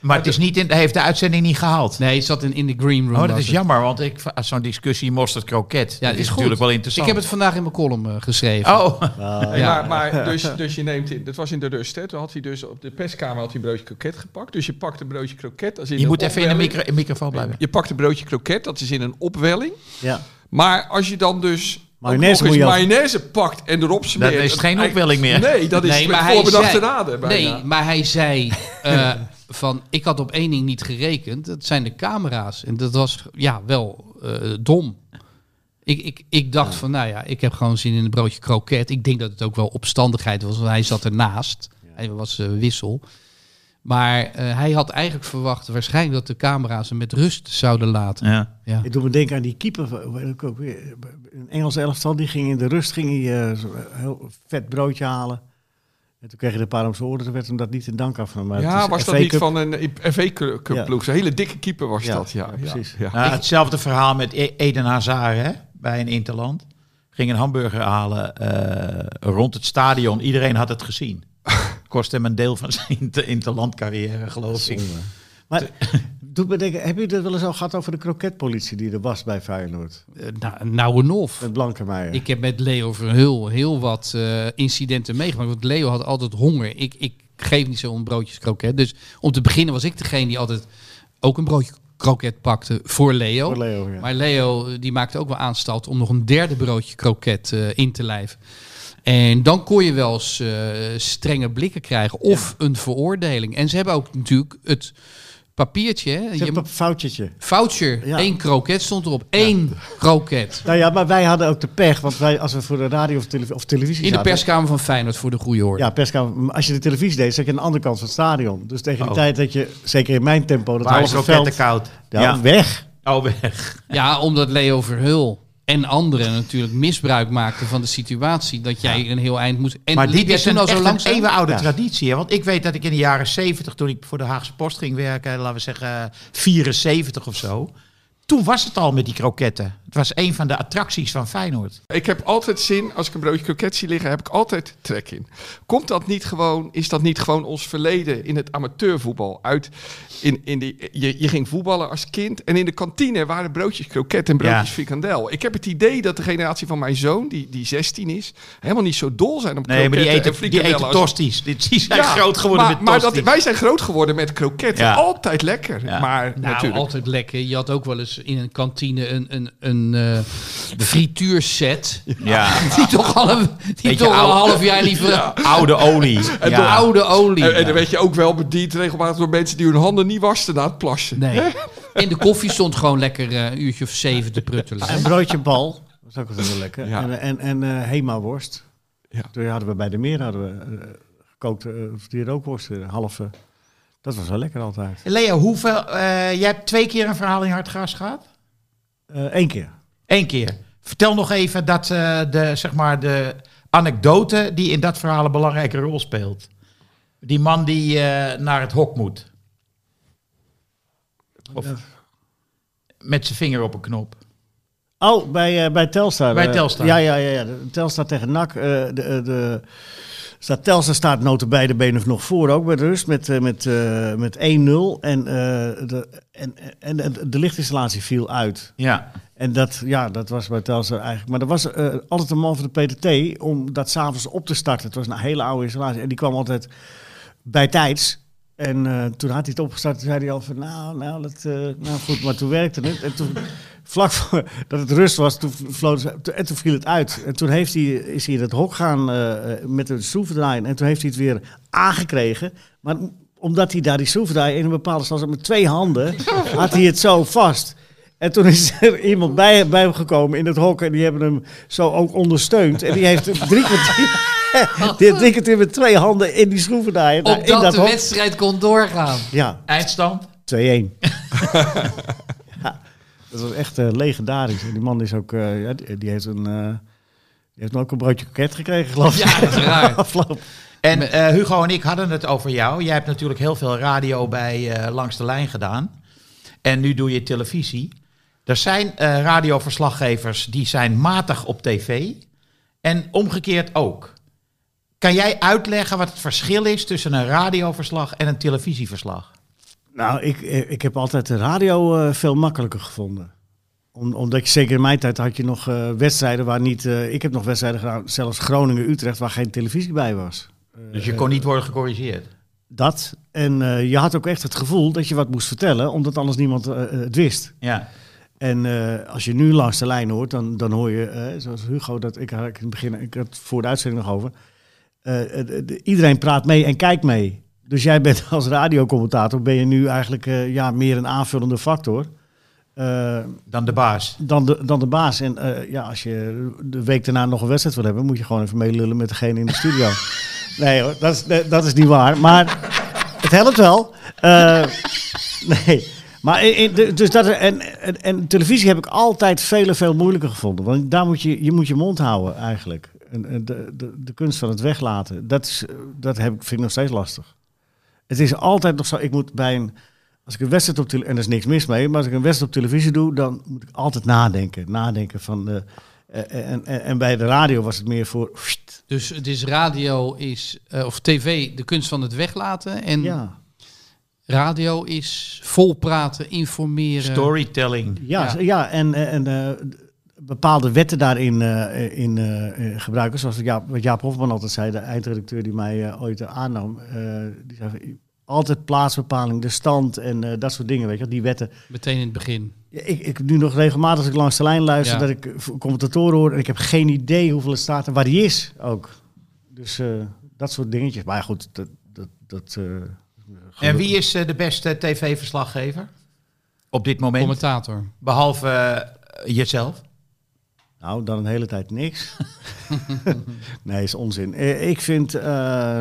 [SPEAKER 6] Maar het is niet in, hij heeft de uitzending niet gehaald.
[SPEAKER 3] Nee, het zat in, in de green room.
[SPEAKER 6] Oh, dat
[SPEAKER 3] was
[SPEAKER 6] is
[SPEAKER 3] het.
[SPEAKER 6] jammer, want ik, als zo'n discussie mosterd kroket,
[SPEAKER 3] Ja,
[SPEAKER 6] dat is,
[SPEAKER 3] goed.
[SPEAKER 6] natuurlijk wel interessant.
[SPEAKER 3] Ik heb het vandaag in mijn column eh, geschreven.
[SPEAKER 6] Oh,
[SPEAKER 7] Hey,
[SPEAKER 3] Ja.
[SPEAKER 7] Maar, maar dus, dus je neemt in, dat was in de rust, hè? Toen had hij dus op de perskamer had hij een broodje kroket gepakt. Dus je pakt een broodje kroket. Als in
[SPEAKER 6] je
[SPEAKER 7] een
[SPEAKER 6] moet even in de
[SPEAKER 7] opwelling.
[SPEAKER 6] micro- microfoon blijven.
[SPEAKER 7] Je pakt een broodje kroket, dat is in een opwelling.
[SPEAKER 4] ja.
[SPEAKER 7] Maar als je dan dus ook
[SPEAKER 4] Mayonaise
[SPEAKER 7] nog
[SPEAKER 4] moet
[SPEAKER 7] eens
[SPEAKER 4] je af-
[SPEAKER 7] mayonaise pakt en erop smeert...
[SPEAKER 6] is het geen opwelling meer.
[SPEAKER 7] Nee, dat is
[SPEAKER 3] Nee,
[SPEAKER 7] met
[SPEAKER 3] maar hij
[SPEAKER 7] voorbedachte
[SPEAKER 3] zei-
[SPEAKER 7] raden bijna.
[SPEAKER 3] Nee, maar hij zei eh, van ik had op één ding niet gerekend. Dat zijn de camera's. En dat was ja wel eh, dom. Ik, ik, ik dacht van nou ja, ik heb gewoon zin in een broodje kroket. Ik denk dat het ook wel opstandigheid was, want hij zat ernaast. Hij was eh, wissel. Maar eh, hij had eigenlijk verwacht waarschijnlijk dat de camera's hem met rust zouden laten.
[SPEAKER 6] Ja.
[SPEAKER 3] Ja.
[SPEAKER 4] Ik doe me denken aan die keeper. van- hoe heet het ook weer? Een Engelse elftal, die ging in de rust ging hij, eh, zo'n heel vet broodje halen. En toen kreeg je de paar om zijn oren, toen werd hem dat niet in dank af. Maar het
[SPEAKER 7] ja,
[SPEAKER 4] is
[SPEAKER 7] was dat
[SPEAKER 4] FA
[SPEAKER 7] niet
[SPEAKER 4] Cup.
[SPEAKER 7] van een FV-ploeg?
[SPEAKER 4] Ja.
[SPEAKER 7] Een hele dikke keeper was
[SPEAKER 4] Ja,
[SPEAKER 7] dat, ja.
[SPEAKER 4] ja,
[SPEAKER 7] ja,
[SPEAKER 4] precies.
[SPEAKER 7] ja.
[SPEAKER 6] Nou, hetzelfde verhaal met E- Eden Hazard hè, bij een Interland. Ging een hamburger halen eh, rond het stadion. Iedereen had het gezien. Kost hem een deel van zijn inter- Interland-carrière, geloof ik.
[SPEAKER 4] Maar doet me denken, heb je het wel eens al gehad over de kroketpolitie die er was bij Feyenoord?
[SPEAKER 3] Eh, nou, nou en of.
[SPEAKER 4] Met Blankenmeijer.
[SPEAKER 3] Ik heb met Leo Verhul heel wat eh, incidenten meegemaakt. Want Leo had altijd honger. Ik, ik geef niet zo om broodjes kroket. Dus om te beginnen was ik degene die altijd ook een broodje kroket pakte voor Leo.
[SPEAKER 4] Voor Leo, ja.
[SPEAKER 3] Maar Leo eh, die maakte ook wel aanstalt om nog een derde broodje kroket eh, in te lijven. En dan kon je wel eens eh, strenge blikken krijgen. Of een veroordeling. En ze hebben ook natuurlijk het papiertje. Hè?
[SPEAKER 4] Ze hebben
[SPEAKER 3] Je,
[SPEAKER 4] een foutje.
[SPEAKER 3] voucher.
[SPEAKER 4] Ja.
[SPEAKER 3] Eén kroket stond erop. Eén kroket.
[SPEAKER 4] Nou ja, maar wij hadden ook de pech, want wij, als we voor de radio of, televi- of televisie
[SPEAKER 3] In de
[SPEAKER 4] zaten-
[SPEAKER 3] perskamer van Feyenoord voor de goede orde.
[SPEAKER 4] Ja, perskamer. Maar Als je de televisie deed, zat je aan de andere kant van het stadion. Dus tegen die
[SPEAKER 6] Oh.
[SPEAKER 4] tijd dat je, zeker in mijn tempo, dat
[SPEAKER 6] Waar is
[SPEAKER 4] halve veld...
[SPEAKER 6] roketten koud?
[SPEAKER 4] Ja, weg.
[SPEAKER 6] Oh, weg.
[SPEAKER 3] Ja, omdat Leo Verhul en anderen natuurlijk misbruik maakten van de situatie dat jij een heel eind moest. En
[SPEAKER 6] maar
[SPEAKER 3] liep
[SPEAKER 6] dit
[SPEAKER 3] jij
[SPEAKER 6] is een,
[SPEAKER 3] toen al zo
[SPEAKER 6] echt
[SPEAKER 3] langs.
[SPEAKER 6] een eeuwenoude
[SPEAKER 4] Ja.
[SPEAKER 6] traditie. Hè? Want ik weet dat ik in de jaren 70, toen ik voor de Haagse Post ging werken, laten we zeggen 74 of zo. Toen was het al met die kroketten. Het was een van de attracties van Feyenoord.
[SPEAKER 7] Ik heb altijd zin, als ik een broodje kroket zie liggen, heb ik altijd trek in. Komt dat niet gewoon, is dat niet gewoon ons verleden in het amateurvoetbal? Uit, in, in die, je, je ging voetballen als kind en in de kantine waren broodjes kroket en broodjes
[SPEAKER 6] Ja.
[SPEAKER 7] frikandel. Ik heb het idee dat de generatie van mijn zoon, die, die 16 is, helemaal niet zo dol zijn op
[SPEAKER 6] Nee, maar die
[SPEAKER 7] kroketten
[SPEAKER 6] eten, die
[SPEAKER 7] en frikandellen
[SPEAKER 6] eten
[SPEAKER 7] als-
[SPEAKER 6] tosties. Die die zijn
[SPEAKER 7] Ja,
[SPEAKER 6] groot geworden
[SPEAKER 7] maar,
[SPEAKER 6] met
[SPEAKER 7] maar
[SPEAKER 6] tosties.
[SPEAKER 7] dat, wij zijn groot geworden met kroketten.
[SPEAKER 6] Ja.
[SPEAKER 7] Altijd lekker,
[SPEAKER 6] Ja.
[SPEAKER 7] maar
[SPEAKER 3] Nou,
[SPEAKER 7] natuurlijk.
[SPEAKER 3] altijd lekker. Je had ook wel eens in een kantine een, een, een eh, frituurset.
[SPEAKER 6] Ja,
[SPEAKER 3] Die toch al een, die
[SPEAKER 6] Beetje
[SPEAKER 3] toch al een
[SPEAKER 6] oud.
[SPEAKER 3] half jaar liever
[SPEAKER 6] oude olie.
[SPEAKER 3] de
[SPEAKER 6] ja.
[SPEAKER 3] oude olie.
[SPEAKER 7] En, en dan werd je ook wel bediend regelmatig door mensen die hun handen niet wasten na het plassen.
[SPEAKER 3] Nee. En de koffie stond gewoon lekker eh, een uurtje of zeven te pruttelen.
[SPEAKER 4] En broodje bal. Dat is ook altijd wel lekker.
[SPEAKER 7] Ja.
[SPEAKER 4] En, en, en eh, Hema-worst.
[SPEAKER 7] Ja.
[SPEAKER 4] Toen hadden we bij de meer hadden we, eh, gekookt, eh, of die rookworst, eh, halve. Dat was wel lekker altijd.
[SPEAKER 6] Leo, hoeveel, eh, jij hebt twee keer een verhaal in hard gras gehad?
[SPEAKER 4] Eén Eh, keer.
[SPEAKER 6] Eén keer. Vertel nog even dat, eh, de, zeg maar de anekdote die in dat verhaal een belangrijke rol speelt. Die man die eh, naar het hok moet. Of, met zijn vinger op een knop.
[SPEAKER 4] Oh, bij, eh, bij Telstar.
[SPEAKER 6] Bij
[SPEAKER 4] Eh,
[SPEAKER 6] Telstar.
[SPEAKER 4] Ja, ja, ja. ja. De- Telstar tegen NAC. eh, de, eh, de, staat, Telstar staat notabene de benen nog voor ook bij de rust met, eh, met, eh, met 1-0. En, eh, de, en, en de, de lichtinstallatie viel uit.
[SPEAKER 6] Ja.
[SPEAKER 4] En dat, ja, dat was bij Telstar eigenlijk. Maar er was eh, altijd een man van de PTT om dat s'avonds op te starten. Het was een hele oude installatie. En die kwam altijd bij tijds. En eh, toen had hij het opgestart. Toen zei hij al van, nou, nou, dat, eh, nou goed, maar toen werkte het. En toen vlak voor, dat het rust was, toen, vloot, ze- toen- en toen viel het uit. En toen heeft hij, is hij in het hok gaan eh, met een schroevendraaier. En toen heeft hij het weer aangekregen. Maar omdat hij daar die schroevendraaier in een bepaalde stand zat met twee handen, had hij het zo vast. En toen is er iemand bij, bij hem gekomen in het hok. En die hebben hem zo ook ondersteund. En die heeft drie kwartier... Die heeft drie kwartier met twee handen in die schroevendraaier. daar- in
[SPEAKER 3] Opdat
[SPEAKER 4] dat
[SPEAKER 3] de
[SPEAKER 4] hok.
[SPEAKER 3] wedstrijd kon doorgaan.
[SPEAKER 4] Ja,
[SPEAKER 6] Eindstand?
[SPEAKER 4] 2-1. Ja, dat was echt eh, legendarisch. En die man is ook, eh, ja, die, die heeft een, eh, die heeft ook een broodje koket gekregen, geloof ik.
[SPEAKER 3] Ja, dat is raar.
[SPEAKER 4] Afloop.
[SPEAKER 6] En eh, Hugo en ik hadden het over jou. Jij hebt natuurlijk heel veel radio bij eh, Langs de Lijn gedaan. En nu doe je televisie. Er zijn eh, radioverslaggevers die zijn matig op tv. En omgekeerd ook. Kan jij uitleggen wat het verschil is tussen een radioverslag en een televisieverslag?
[SPEAKER 4] Nou, ik, eh, ik heb altijd de radio eh, veel makkelijker gevonden. Om, omdat je, zeker in mijn tijd had je nog eh, wedstrijden waar niet... eh, ik heb nog wedstrijden gedaan, zelfs Groningen-Utrecht, waar geen televisie bij was.
[SPEAKER 6] Dus je kon niet worden gecorrigeerd.
[SPEAKER 4] Dat. En eh, je had ook echt het gevoel dat je wat moest vertellen, omdat anders niemand eh, eh, het wist.
[SPEAKER 6] Ja.
[SPEAKER 4] En eh, als je nu langs de lijn hoort, dan, dan hoor je, eh, zoals Hugo, dat ik, had ik in het begin, ik had het voor de uitzending nog over. eh, eh, de- iedereen praat mee en kijkt mee. Dus jij bent als radiocommentator, ben je nu eigenlijk eh, ja, meer een aanvullende factor eh,
[SPEAKER 6] Dan de baas.
[SPEAKER 4] dan, de, dan de baas. En eh, ja, als je de week daarna nog een wedstrijd wil hebben, moet je gewoon even meelullen met degene in de studio. nee hoor, dat is, nee, dat is niet waar. Maar het helpt wel. Eh, nee. Maar in- in- de- dus dat, en, en, en televisie heb ik altijd veel, veel moeilijker gevonden. Want daar moet je, je moet je mond houden eigenlijk. En, en de, de, de kunst van het weglaten, dat, is, eh, dat heb, ik- vind ik nog steeds lastig. Het is altijd nog zo, ik moet bij een... Als ik een wedstrijd op televisie, en er is niks mis mee, maar als ik een wedstrijd op televisie doe, dan moet ik altijd nadenken. Nadenken van... eh, eh, en, en, en bij de radio was het meer voor...
[SPEAKER 3] Dus het is radio is, eh, of tv, de kunst van het weglaten. En
[SPEAKER 4] Ja,
[SPEAKER 3] radio is volpraten, informeren.
[SPEAKER 6] Storytelling.
[SPEAKER 4] Ja,
[SPEAKER 3] Ja.
[SPEAKER 4] ja. ja en, en eh, bepaalde wetten daarin eh, in, eh, eh, gebruiken. Zoals Jaap, wat Jaap Hofman altijd zei, de eindredacteur die mij eh, ooit aannam. eh, die zei, van, altijd plaatsbepaling, de stand en eh, dat soort dingen, weet je wel, die wetten.
[SPEAKER 3] Meteen in het begin.
[SPEAKER 4] Ja, ik, ik nu nog regelmatig als ik langs de lijn luister,
[SPEAKER 3] Ja.
[SPEAKER 4] dat ik v- commentatoren hoor en ik heb geen idee hoeveel het staat en waar die is ook. Dus eh, dat soort dingetjes. Maar ja, goed, dat... dat, dat eh,
[SPEAKER 6] En wie is eh, de beste tv-verslaggever? Op dit moment.
[SPEAKER 3] Commentator.
[SPEAKER 6] Behalve eh, jezelf.
[SPEAKER 4] Nou, dan een hele tijd niks. nee, is onzin. Eh, Ik vind eh,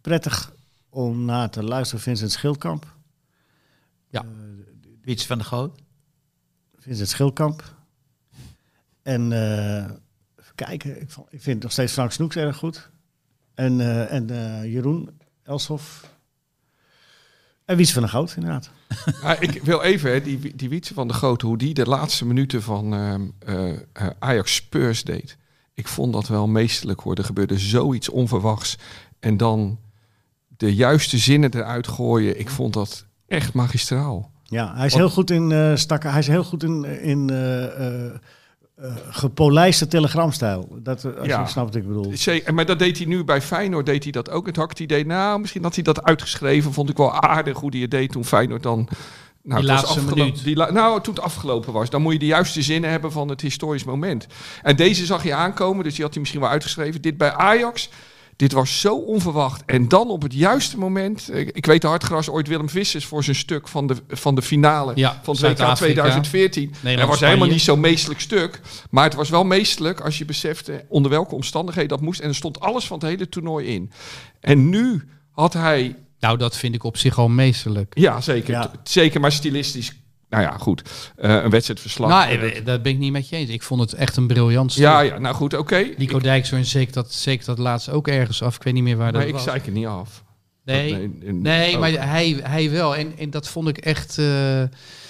[SPEAKER 4] prettig om naar te luisteren Vincent Schildkamp.
[SPEAKER 6] Wiets van de Goot.
[SPEAKER 4] Vincent Schildkamp. En eh, even kijken, ik, vond- ik vind nog steeds Frank Snoeks erg goed. En, eh, en eh, Jeroen Elshoff. En Wies van der Goud, inderdaad.
[SPEAKER 7] Ja, Nou, ik wil even, hè, die, die Wietse van de Grote, hoe die de laatste minuten van ehm, eh, eh, Ajax Spurs deed. Ik vond dat wel meestelijk hoor. Er gebeurde zoiets onverwachts. En dan de juiste zinnen eruit gooien. Ik vond dat echt magistraal.
[SPEAKER 4] Ja, hij is heel goed in eh, stakken. Hij is heel goed in, in eh, eh, eh, gepolijste telegramstijl. Dat, eh, als
[SPEAKER 7] Ja.
[SPEAKER 4] je snapt wat ik bedoel.
[SPEAKER 7] Zeker, maar dat deed hij nu bij Feyenoord, deed hij dat ook. Het hakt idee, nou, misschien had hij dat uitgeschreven. Vond ik wel aardig hoe hij het deed toen Feyenoord dan... Nou,
[SPEAKER 3] Die
[SPEAKER 7] het was
[SPEAKER 3] laatste
[SPEAKER 7] afgelo-
[SPEAKER 3] minuut.
[SPEAKER 7] die la- nou, toen het afgelopen was. Dan moet je de juiste zinnen hebben van het historisch moment. En deze zag je aankomen, dus die had hij misschien wel uitgeschreven. Dit bij Ajax, dit was zo onverwacht. En dan op het juiste moment... eh, Ik weet de hartgras ooit Willem Vissers voor zijn stuk van de, van de finale
[SPEAKER 3] Ja,
[SPEAKER 7] van het WK
[SPEAKER 3] Zuid-Afrika.
[SPEAKER 7] 2014.
[SPEAKER 3] Nederland,
[SPEAKER 7] dat was
[SPEAKER 3] Spanje.
[SPEAKER 7] helemaal niet zo'n meestelijk stuk. Maar het was wel meestelijk als je besefte onder welke omstandigheden dat moest. En er stond alles van het hele toernooi in. En nu had hij,
[SPEAKER 3] Nou, dat vind ik op zich al meesterlijk.
[SPEAKER 7] ja zeker,
[SPEAKER 4] Ja.
[SPEAKER 7] t- zeker maar stilistisch, nou ja goed, eh, een wedstrijdverslag.
[SPEAKER 3] Nou, eh, dat ben ik niet met je eens. Ik vond het echt een briljant stuk.
[SPEAKER 7] ja, ja, nou goed, oké. Ik-
[SPEAKER 3] Nico Dijkshoorn zeker dat, zeker dat laatst ook ergens af. Ik weet niet meer waar
[SPEAKER 7] Maar
[SPEAKER 3] dat
[SPEAKER 7] ik
[SPEAKER 3] was.
[SPEAKER 7] zei Oh. het niet af.
[SPEAKER 3] nee,
[SPEAKER 7] Dat-
[SPEAKER 3] nee,
[SPEAKER 7] in- ook.
[SPEAKER 3] maar hij, hij wel. En, en dat vond ik echt... eh,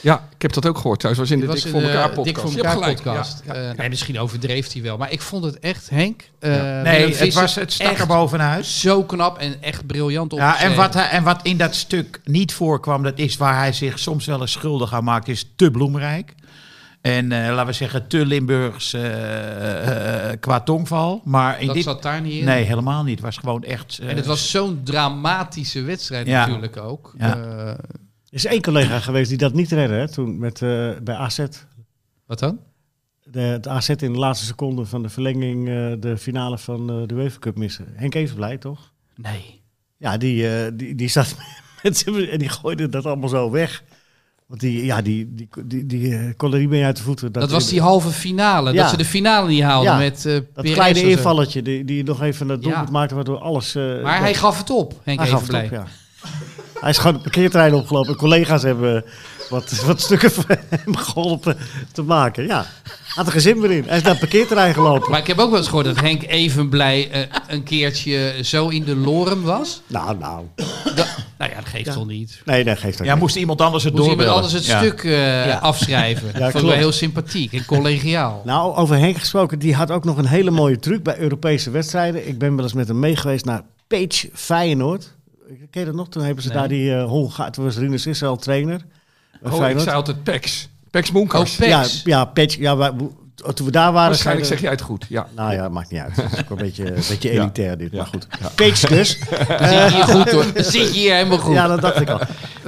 [SPEAKER 7] Ja, ik heb dat ook gehoord trouwens. was in de
[SPEAKER 3] was
[SPEAKER 7] Dik voor elkaar podcast.
[SPEAKER 3] Dik voor
[SPEAKER 7] Je hebt
[SPEAKER 3] elkaar
[SPEAKER 7] gelijk, ja.
[SPEAKER 3] podcast. Eh, nee, misschien overdreef hij wel. Maar ik vond het echt, Henk... eh, Willem
[SPEAKER 6] Nee, het,
[SPEAKER 3] Visser
[SPEAKER 6] was, het stak
[SPEAKER 3] echt
[SPEAKER 6] er bovenuit.
[SPEAKER 3] Zo knap en echt briljant op.
[SPEAKER 6] Ja, en, wat hij, en wat in dat stuk niet voorkwam, dat is waar hij zich soms wel eens schuldig aan maakt, is te bloemrijk. En eh, laten we zeggen, te Limburgs eh, eh, qua tongval. Maar in
[SPEAKER 3] dat
[SPEAKER 6] dit.
[SPEAKER 3] zat daar niet in.
[SPEAKER 6] Nee, helemaal niet. Het was gewoon echt. eh,
[SPEAKER 3] En het was zo'n dramatische wedstrijd
[SPEAKER 6] Ja.
[SPEAKER 3] natuurlijk ook.
[SPEAKER 6] Ja.
[SPEAKER 3] Eh,
[SPEAKER 4] Er is één collega geweest die dat niet redde, hè, toen met, eh, bij AZ.
[SPEAKER 3] Wat dan?
[SPEAKER 4] De, het AZ in de laatste seconde van de verlenging eh, de finale van eh, de UEFA Cup missen. Henk Evenblij, toch?
[SPEAKER 3] Nee.
[SPEAKER 4] Ja, die, eh, die, die zat met z'n- en die gooide dat allemaal zo weg. Want die, ja, die, die, die, die, eh, kon er niet meer uit de voeten.
[SPEAKER 3] Dat, was die halve finale.
[SPEAKER 4] Ja.
[SPEAKER 3] Dat ze de finale niet haalden
[SPEAKER 4] Ja.
[SPEAKER 3] met eh
[SPEAKER 4] dat
[SPEAKER 3] Perez
[SPEAKER 4] kleine
[SPEAKER 3] en zo.
[SPEAKER 4] invalletje die, die nog even dat doelpunt
[SPEAKER 3] Ja.
[SPEAKER 4] maakte, waardoor alles... eh,
[SPEAKER 3] Maar
[SPEAKER 4] ja,
[SPEAKER 3] hij gaf het op, Henk
[SPEAKER 4] hij gaf het
[SPEAKER 3] Evenblij.
[SPEAKER 4] op, ja. Hij is gewoon de parkeertrein opgelopen. Collega's hebben wat, wat stukken van hem geholpen te maken. Ja, had er geen zin meer in. Hij is naar de parkeerterrein gelopen.
[SPEAKER 3] Maar ik heb ook wel eens gehoord dat Henk Evenblij eh, een keertje zo in de lorem was.
[SPEAKER 4] Nou, nou.
[SPEAKER 3] Dat, nou ja, dat geeft toch niet.
[SPEAKER 4] Nee, dat geeft ook
[SPEAKER 6] Ja,
[SPEAKER 4] niet.
[SPEAKER 6] moest iemand anders het
[SPEAKER 3] Moet iemand
[SPEAKER 6] doorbellen.
[SPEAKER 3] anders het
[SPEAKER 6] Ja.
[SPEAKER 3] stuk eh, afschrijven. Vond ik wel
[SPEAKER 4] klopt.
[SPEAKER 3] heel sympathiek en collegiaal.
[SPEAKER 4] Nou, over Henk gesproken, die had ook nog een hele mooie truc bij Europese wedstrijden. Ik ben wel eens met hem meegeweest naar Page Feyenoord. Ken je dat nog? Toen hebben ze
[SPEAKER 3] Nee.
[SPEAKER 4] daar die eh Hongaar, toen was Rinus Israël trainer. bij
[SPEAKER 7] Oh, ik
[SPEAKER 4] Feyenoord.
[SPEAKER 7] zei altijd Pex. Pex Moenkers.
[SPEAKER 3] Oh, Pe-
[SPEAKER 4] ja,
[SPEAKER 3] Pex.
[SPEAKER 4] ja, Page. Ja, wij- toen we daar waren... zeiden-
[SPEAKER 7] Waarschijnlijk zeg jij het goed, ja.
[SPEAKER 4] Nou ja, maakt niet uit. Het is ook een beetje, een beetje
[SPEAKER 7] Ja.
[SPEAKER 4] elitair dit,
[SPEAKER 7] Ja.
[SPEAKER 4] maar goed. Page dus.
[SPEAKER 3] Dan zit je hier goed hoor. Dan zit je hier helemaal goed.
[SPEAKER 4] ja, dat dacht ik al.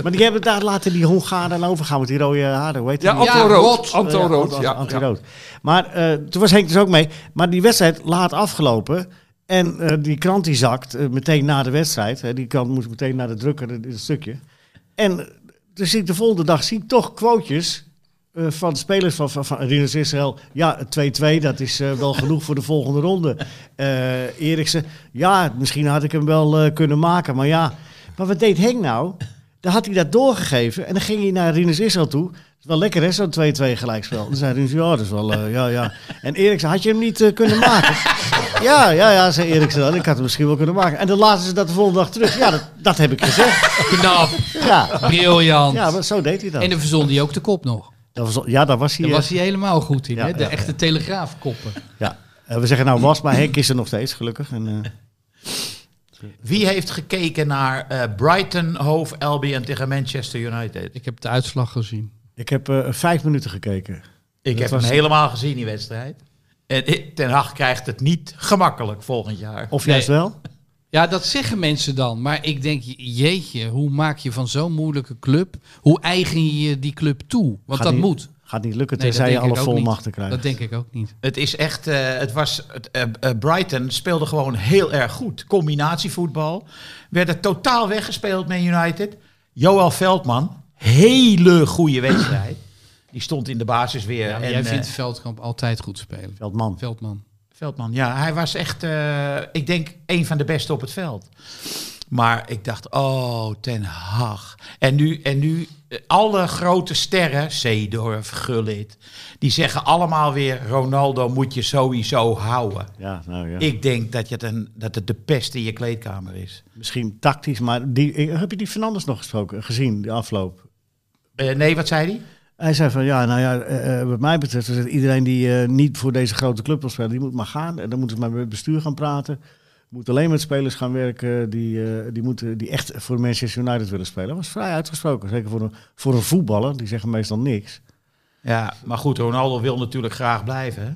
[SPEAKER 4] Maar die hebben daar laten die Hongaren overgaan met die rode haren. Hoe heet
[SPEAKER 7] Ja,
[SPEAKER 4] die?
[SPEAKER 7] Anton
[SPEAKER 3] Ja,
[SPEAKER 7] Rood.
[SPEAKER 3] Rood.
[SPEAKER 7] Anton Rood,
[SPEAKER 4] Anti-
[SPEAKER 7] ja.
[SPEAKER 4] anti-rood. Maar eh, toen was Henk dus ook mee. Maar die wedstrijd laat afgelopen. En eh, die krant die zakt eh, meteen na de wedstrijd. Hè, die krant moest meteen naar de drukker, dit dit stukje. En eh, dus ik de volgende dag zie ik toch quotejes eh, van spelers van, van, van Rinus Israël. Ja, 2-2, dat is eh, wel genoeg voor de volgende ronde. Eh Eriksen, ja, misschien had ik hem wel eh, kunnen maken. Maar ja, maar wat deed Henk nou? Dan had hij dat doorgegeven en dan ging hij naar Rinus Israël toe. Het is wel lekker hè, zo'n 2-2 gelijkspel. Dan zei Rinus, ja, dat is wel, eh, ja, ja. En Eriksen, had je hem niet eh, kunnen maken? ja, ja, ja, zei Eriksen dan. Ik had hem misschien wel kunnen maken. En dan laten ze dat de volgende dag terug. Ja, dat, dat heb ik gezegd.
[SPEAKER 3] Knap,
[SPEAKER 4] Ja,
[SPEAKER 3] briljant.
[SPEAKER 4] ja maar zo deed hij dat.
[SPEAKER 3] en dan verzon hij ook de kop nog.
[SPEAKER 4] dat was, ja, dat was hij.
[SPEAKER 3] Daar
[SPEAKER 4] eh,
[SPEAKER 3] was hij helemaal goed in.
[SPEAKER 4] Ja,
[SPEAKER 3] hè? De
[SPEAKER 4] ja, ja.
[SPEAKER 3] echte telegraafkoppen.
[SPEAKER 4] Ja. Eh, we zeggen nou was, maar Henk is er nog steeds, gelukkig. En, eh,
[SPEAKER 6] Wie heeft gekeken naar eh, Brighton, Hove, Albion tegen Manchester United?
[SPEAKER 3] Ik heb de uitslag gezien.
[SPEAKER 4] ik heb eh, vijf minuten gekeken.
[SPEAKER 6] Ik heb hem
[SPEAKER 4] was-
[SPEAKER 6] helemaal gezien, die wedstrijd. En ik- Ten Hag krijgt het niet gemakkelijk volgend jaar.
[SPEAKER 4] Of juist
[SPEAKER 3] Nee.
[SPEAKER 4] wel?
[SPEAKER 3] Ja, dat zeggen mensen dan. Maar ik denk, jeetje, hoe maak je van zo'n moeilijke club... hoe eigen je die club toe? Want
[SPEAKER 4] Gaat
[SPEAKER 3] dat
[SPEAKER 4] niet-
[SPEAKER 3] moet.
[SPEAKER 4] Gaat niet lukken
[SPEAKER 3] Nee, dat
[SPEAKER 4] tenzij
[SPEAKER 3] denk
[SPEAKER 4] je
[SPEAKER 3] ik
[SPEAKER 4] alle
[SPEAKER 3] ook niet.
[SPEAKER 4] volmachten krijgt.
[SPEAKER 3] Dat denk ik ook niet.
[SPEAKER 6] Het is echt, eh, het was, het, eh, eh, Brighton speelde gewoon heel erg goed. Combinatievoetbal. Werd het totaal weggespeeld met United. Joël Veldman, hele goede wedstrijd. Die stond in de basis weer.
[SPEAKER 3] Ja, maar
[SPEAKER 6] en,
[SPEAKER 3] jij
[SPEAKER 6] eh,
[SPEAKER 3] vindt Veldkamp altijd goed spelen.
[SPEAKER 4] Veldman.
[SPEAKER 3] Veldman.
[SPEAKER 6] Veldman, ja, hij was echt, eh, ik denk, een van de beste op het veld. Maar ik dacht, oh, Ten Hag. En nu, en nu eh, alle grote sterren, Seedorf, Gullit, die zeggen allemaal weer, Ronaldo moet je sowieso houden.
[SPEAKER 4] Ja, nou ja.
[SPEAKER 6] Ik denk dat het, een, dat het de pest in je kleedkamer is.
[SPEAKER 4] Misschien tactisch, maar die, ik- heb je die Fernandes nog gesproken, gezien, de afloop?
[SPEAKER 6] Eh, nee, wat zei hij?
[SPEAKER 4] Hij zei van, ja, nou ja, eh, eh, wat mij betreft is het iedereen die eh, niet voor deze grote club wil spelen, die moet maar gaan. En dan moeten ze maar met het bestuur gaan praten. Moet alleen met spelers gaan werken die, eh, die, moeten, die echt voor Manchester United willen spelen. Dat was vrij uitgesproken, zeker voor een, voor een voetballer. Die zeggen meestal niks.
[SPEAKER 6] Ja, maar goed, Ronaldo wil natuurlijk graag blijven. hè?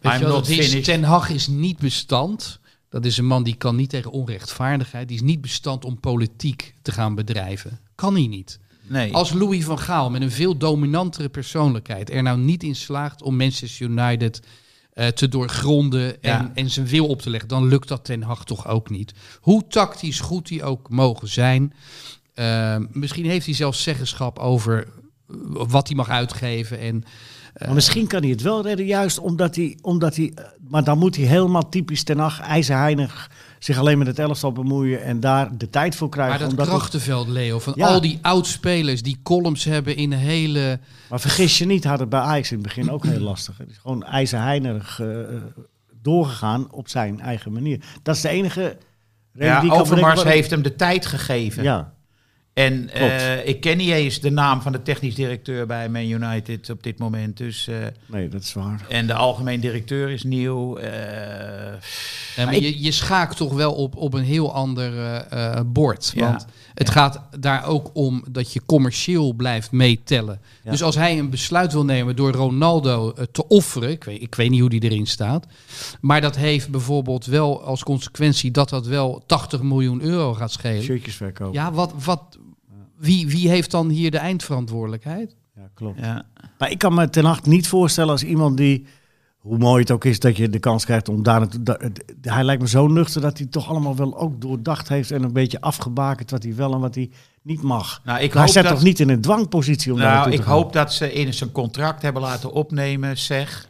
[SPEAKER 3] Weet
[SPEAKER 6] I'm
[SPEAKER 3] je wel,
[SPEAKER 6] not
[SPEAKER 3] dat is-
[SPEAKER 6] finished.
[SPEAKER 3] Ten Hag is niet bestand. Dat is een man die kan niet tegen onrechtvaardigheid. Die is niet bestand om politiek te gaan bedrijven. Kan hij niet.
[SPEAKER 6] Nee.
[SPEAKER 3] Als Louis van Gaal met een veel dominantere persoonlijkheid er nou niet in slaagt om Manchester United eh, te doorgronden en,
[SPEAKER 6] Ja.
[SPEAKER 3] en zijn wil op te leggen, dan lukt dat Ten Hag toch ook niet. Hoe tactisch goed die ook mogen zijn. eh, misschien heeft hij zelfs zeggenschap over eh, wat hij mag uitgeven. En Eh.
[SPEAKER 4] Maar misschien kan hij het wel redden, juist omdat hij... Omdat hij eh, maar dan moet hij helemaal typisch ten acht ijzerheinig zich alleen met het elftal bemoeien... en daar de tijd voor krijgen.
[SPEAKER 3] Maar dat
[SPEAKER 4] om dat nog-
[SPEAKER 3] krachtenveld, Leo, van
[SPEAKER 4] Ja.
[SPEAKER 3] al die oud-spelers die columns hebben in hele...
[SPEAKER 4] Maar vergis je niet, had het bij Ajax in het begin ook heel lastig. Het is gewoon ijzerheinerig eh, doorgegaan op zijn eigen manier. Dat is de enige reden
[SPEAKER 6] Ja,
[SPEAKER 4] die ik kan
[SPEAKER 6] Overmars
[SPEAKER 4] bedenken waarom-
[SPEAKER 6] heeft hem de tijd gegeven.
[SPEAKER 4] Ja,
[SPEAKER 6] En
[SPEAKER 4] Klopt.
[SPEAKER 6] eh, ik ken niet eens de naam van de technisch directeur bij Man United op dit moment. Dus, eh,
[SPEAKER 4] nee, dat is waar.
[SPEAKER 6] en de algemeen directeur is nieuw. eh,
[SPEAKER 3] Nee, maar je, je schaakt toch wel op, op een heel ander eh, eh, bord.
[SPEAKER 6] Ja.
[SPEAKER 3] Want het gaat daar ook om dat je commercieel blijft meetellen.
[SPEAKER 4] Ja.
[SPEAKER 3] Dus als hij een besluit wil nemen door Ronaldo eh, te offeren... Ik weet, ik weet niet hoe die erin staat. Maar dat heeft bijvoorbeeld wel als consequentie... dat dat wel 80 miljoen euro gaat schelen.
[SPEAKER 4] Shirtjes verkopen.
[SPEAKER 3] Ja, wat, wat, wie, wie heeft dan hier de eindverantwoordelijkheid?
[SPEAKER 4] Ja, klopt.
[SPEAKER 6] Ja.
[SPEAKER 4] Maar ik kan me ten acht niet voorstellen als iemand die, hoe mooi het ook is dat je de kans krijgt om daar naartoe. da- d- hij lijkt me zo nuchter dat hij toch allemaal wel ook doordacht heeft en een beetje afgebakend wat hij wel en wat hij niet mag.
[SPEAKER 6] Nou, ik
[SPEAKER 4] hij
[SPEAKER 6] hoop
[SPEAKER 4] zit
[SPEAKER 6] dat-
[SPEAKER 4] toch niet in een dwangpositie om daar
[SPEAKER 6] Nou,
[SPEAKER 4] naartoe
[SPEAKER 6] ik
[SPEAKER 4] te gaan?
[SPEAKER 6] hoop dat ze in zijn contract hebben laten opnemen, zeg.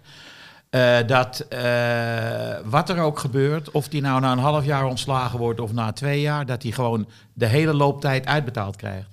[SPEAKER 6] eh, dat eh, wat er ook gebeurt, of die nou na een half jaar ontslagen wordt of na twee jaar, dat hij gewoon de hele looptijd uitbetaald krijgt.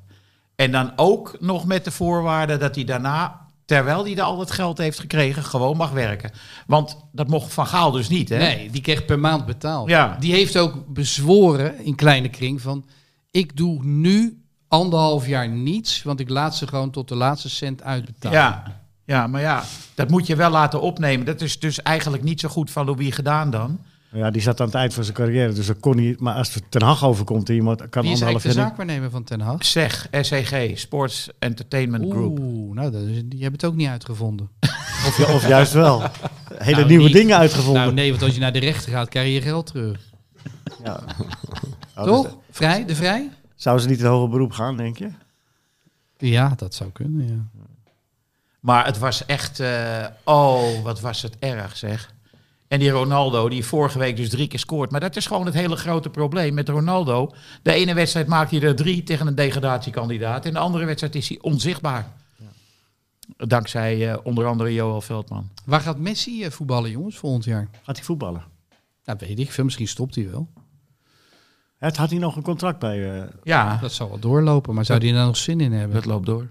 [SPEAKER 6] En dan ook nog met de voorwaarde dat hij daarna, terwijl hij al het geld heeft gekregen, gewoon mag werken. Want dat mocht Van Gaal dus niet, hè?
[SPEAKER 3] Nee, die kreeg per maand betaald.
[SPEAKER 6] Ja.
[SPEAKER 3] Die heeft ook bezworen in kleine kring van... ik doe nu anderhalf jaar niets... want ik laat ze gewoon tot de laatste cent uitbetalen.
[SPEAKER 6] Ja. ja, maar ja, dat moet je wel laten opnemen. Dat is dus eigenlijk niet zo goed van Louis gedaan dan.
[SPEAKER 4] Ja, die zat aan het eind van zijn carrière, dus dat kon hij. Maar als het ten Hag overkomt, en iemand kan
[SPEAKER 3] Wie is
[SPEAKER 4] anderhalf
[SPEAKER 3] eigenlijk de
[SPEAKER 4] jaar. niet-
[SPEAKER 3] zaakwaarnemer van Ten Hag?
[SPEAKER 6] SEG, SEG, Sports Entertainment Group.
[SPEAKER 3] Oeh, nou, dat is, die hebben het ook niet uitgevonden.
[SPEAKER 4] Of, ju- of juist wel. Hele
[SPEAKER 3] Nou,
[SPEAKER 4] nieuwe
[SPEAKER 3] niet.
[SPEAKER 4] dingen uitgevonden.
[SPEAKER 3] Nou nee, want als je naar de rechter gaat, krijg je je geld terug.
[SPEAKER 4] Ja. Oh,
[SPEAKER 3] Toch?
[SPEAKER 4] dus-
[SPEAKER 3] vrij, de vrij?
[SPEAKER 4] Zouden ze niet in hoger beroep gaan, denk je?
[SPEAKER 3] Ja, dat zou kunnen, ja.
[SPEAKER 6] Maar het was echt, eh, oh, wat was het erg zeg. En die Ronaldo, die vorige week dus drie keer scoort. Maar dat is gewoon het hele grote probleem met Ronaldo. De ene wedstrijd maakt hij er drie tegen een degradatiekandidaat. En de andere wedstrijd is hij onzichtbaar. Dankzij eh, onder andere Joël Veldman.
[SPEAKER 3] Waar gaat Messi eh, voetballen, jongens, volgend jaar?
[SPEAKER 4] Gaat hij voetballen?
[SPEAKER 3] Dat weet ik veel. Misschien stopt hij wel.
[SPEAKER 4] Het had hij nog een contract bij. eh
[SPEAKER 6] Ja,
[SPEAKER 3] Dat zal wel doorlopen, maar zou hij daar nog zin in hebben?
[SPEAKER 6] dat loopt door.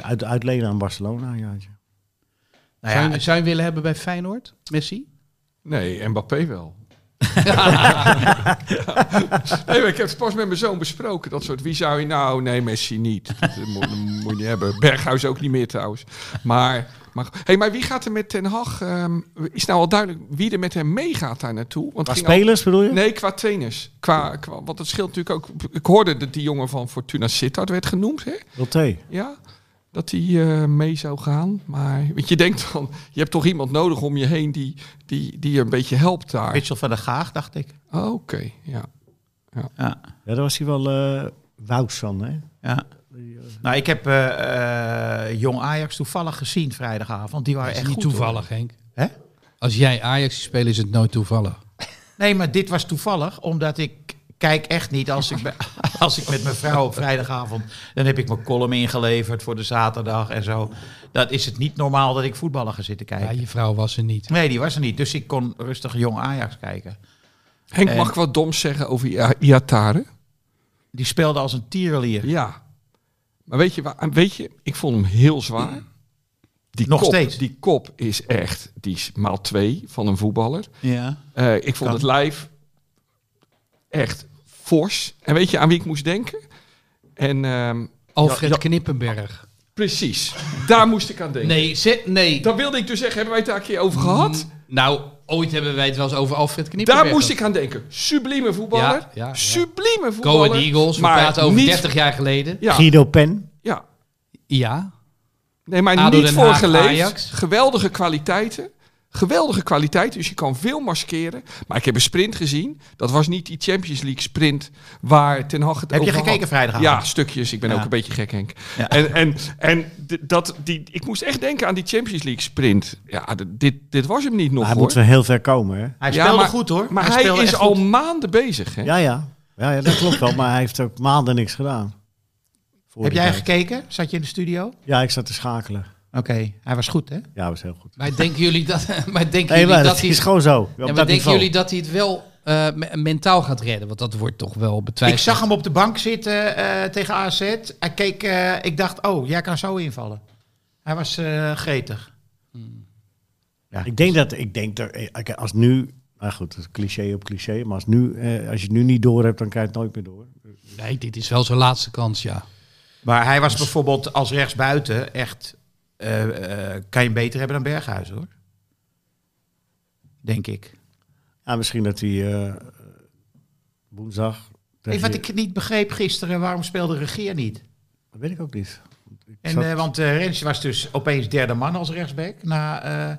[SPEAKER 4] uit, uitlenen aan Barcelona. Ja.
[SPEAKER 6] Nou
[SPEAKER 3] zou,
[SPEAKER 6] ja,
[SPEAKER 3] je, zou je hem willen hebben bij Feyenoord, Messi?
[SPEAKER 7] Nee, Mbappé wel. nee, maar ik heb het pas met mijn zoon besproken. Dat soort, wie zou je nou? Nee, Messi niet. Dat eh, moet, dat moet je niet hebben. Berghuis ook niet meer trouwens. Maar, maar, hey, maar wie gaat er met Ten Hag? ehm, is nou al duidelijk wie er met hem meegaat daar naartoe? Want
[SPEAKER 4] Qua
[SPEAKER 7] het ging al-
[SPEAKER 4] spelers bedoel je?
[SPEAKER 7] Nee, qua trainers. Qua, qua, want het scheelt natuurlijk ook. Ik hoorde dat die jongen van Fortuna Sittard werd genoemd. Hè?
[SPEAKER 4] Roté.
[SPEAKER 7] Ja, dat hij eh, mee zou gaan. Maar want je denkt dan, je hebt toch iemand nodig om je heen die, die, die je een beetje helpt daar.
[SPEAKER 6] Mitchell van der Gaag, dacht ik.
[SPEAKER 7] Oh, Oké, ja.
[SPEAKER 6] Ja.
[SPEAKER 4] Ja, daar was hij wel eh wouds van, hè?
[SPEAKER 6] Ja. Nou, ik heb eh, eh, Jong Ajax toevallig gezien vrijdagavond. Die waren
[SPEAKER 3] Dat is
[SPEAKER 6] echt
[SPEAKER 3] niet
[SPEAKER 6] goed,
[SPEAKER 3] toevallig, Henk.
[SPEAKER 6] Hè?
[SPEAKER 3] Als jij Ajax speelt, is het nooit toevallig.
[SPEAKER 6] hoor. Nee, maar dit was toevallig, omdat ik kijk echt niet als ik, be- als ik met mijn vrouw op vrijdagavond... dan heb ik mijn column ingeleverd voor de zaterdag en zo. Dat is het niet normaal dat ik voetballen ga zitten
[SPEAKER 3] Ja,
[SPEAKER 6] kijken.
[SPEAKER 3] je vrouw was er niet.
[SPEAKER 6] Nee, die was er niet. Dus ik kon rustig Jong Ajax kijken.
[SPEAKER 7] Henk,
[SPEAKER 6] En-
[SPEAKER 7] mag ik wat doms zeggen over Ia- Iatare?
[SPEAKER 6] Die speelde als een tierenlier.
[SPEAKER 7] Ja. Maar weet je, waar, weet je, ik vond hem heel zwaar. Die
[SPEAKER 6] Nog
[SPEAKER 7] kop,
[SPEAKER 6] steeds.
[SPEAKER 7] Die kop is echt, die is maal twee van een voetballer.
[SPEAKER 6] Ja.
[SPEAKER 7] Eh, ik vond
[SPEAKER 6] Kan.
[SPEAKER 7] het lijf echt fors. En weet je aan wie ik moest denken? En ehm,
[SPEAKER 3] Alfred
[SPEAKER 7] Ja, ja.
[SPEAKER 3] Knippenberg.
[SPEAKER 7] precies, daar moest ik aan denken.
[SPEAKER 3] Nee, ze, nee.
[SPEAKER 7] Dat wilde ik dus zeggen, hebben wij het daar een keer over
[SPEAKER 3] Mm.
[SPEAKER 7] gehad?
[SPEAKER 3] Nou, ooit hebben wij het wel eens over Alfred Knippenberg.
[SPEAKER 7] Daar moest ik aan denken. Sublieme voetballer.
[SPEAKER 3] Ja, ja, ja.
[SPEAKER 7] Sublieme
[SPEAKER 3] Go
[SPEAKER 7] voetballer.
[SPEAKER 3] Ahead Eagles, we
[SPEAKER 7] maar
[SPEAKER 3] praten over
[SPEAKER 7] niet-
[SPEAKER 3] 30 jaar geleden.
[SPEAKER 7] Ja,
[SPEAKER 4] Guido Pen.
[SPEAKER 7] ja.
[SPEAKER 3] Ja.
[SPEAKER 7] Nee, maar
[SPEAKER 3] ADO
[SPEAKER 7] niet
[SPEAKER 3] Den
[SPEAKER 7] voor
[SPEAKER 3] Haag,
[SPEAKER 7] geleefd.
[SPEAKER 3] Ajax.
[SPEAKER 7] Geweldige kwaliteiten. Geweldige kwaliteiten, dus je kan veel maskeren. Maar ik heb een sprint gezien. Dat was niet die Champions League sprint waar Ten Hag het
[SPEAKER 6] Heb je
[SPEAKER 7] over had.
[SPEAKER 6] gekeken vrijdagavond?
[SPEAKER 7] Ja, stukjes. Ik ben ook een beetje gek, Henk.
[SPEAKER 6] Ja.
[SPEAKER 7] En, en, en d- dat, die, ik moest echt denken aan die Champions League sprint. Ja, d- dit, dit was hem niet nog,
[SPEAKER 4] Hij
[SPEAKER 7] hoor.
[SPEAKER 4] moet wel heel ver komen, hè?
[SPEAKER 6] Hij
[SPEAKER 7] Ja,
[SPEAKER 6] speelde
[SPEAKER 7] maar-
[SPEAKER 6] goed hoor.
[SPEAKER 7] Maar hij
[SPEAKER 6] speelde
[SPEAKER 7] is
[SPEAKER 6] echt
[SPEAKER 7] al
[SPEAKER 6] goed.
[SPEAKER 7] maanden bezig, hè?
[SPEAKER 4] Ja, ja. Ja, ja dat klopt wel, maar hij heeft ook maanden niks gedaan. Voor
[SPEAKER 6] Heb
[SPEAKER 4] die
[SPEAKER 6] jij
[SPEAKER 4] tijd.
[SPEAKER 6] gekeken? Zat je in de studio? Oké,
[SPEAKER 4] Ja, ik zat te schakelen.
[SPEAKER 6] hij was goed hè?
[SPEAKER 4] Ja, was heel goed.
[SPEAKER 3] Maar denken jullie dat, maar denken
[SPEAKER 4] Nee,
[SPEAKER 3] jullie
[SPEAKER 4] maar
[SPEAKER 3] dat
[SPEAKER 4] dat
[SPEAKER 3] hij
[SPEAKER 4] is gewoon zo. op
[SPEAKER 3] Ja,
[SPEAKER 4] dat
[SPEAKER 3] maar denken
[SPEAKER 4] niveau.
[SPEAKER 3] jullie dat hij het wel eh, me- mentaal gaat redden? Want dat wordt toch wel
[SPEAKER 6] Ik
[SPEAKER 3] betwijfeld.
[SPEAKER 6] zag hem op de bank zitten eh, tegen AZ. Hij keek, eh, ik dacht, oh, jij kan zo invallen. Hij was eh, gretig.
[SPEAKER 4] Ik denk dat, ik denk dat, eh, oké, als nu, nou goed, dat is cliché op cliché, maar als, nu, eh, als je het nu niet door hebt, dan krijg je het nooit meer door.
[SPEAKER 3] Nee, dit is wel zijn laatste kans, ja.
[SPEAKER 6] Maar hij was bijvoorbeeld als rechtsbuiten echt... eh, eh, kan je hem beter hebben dan Berghuis, hoor. Denk ik.
[SPEAKER 4] Ja, misschien dat hij eh, woensdag.
[SPEAKER 6] Hey,
[SPEAKER 4] tegen-
[SPEAKER 6] wat ik niet begreep gisteren, waarom speelde Regeer niet?
[SPEAKER 4] Dat weet ik ook niet. Ik
[SPEAKER 6] En,
[SPEAKER 4] zat-
[SPEAKER 6] eh, want eh Rens was dus opeens derde man als rechtsback. Na eh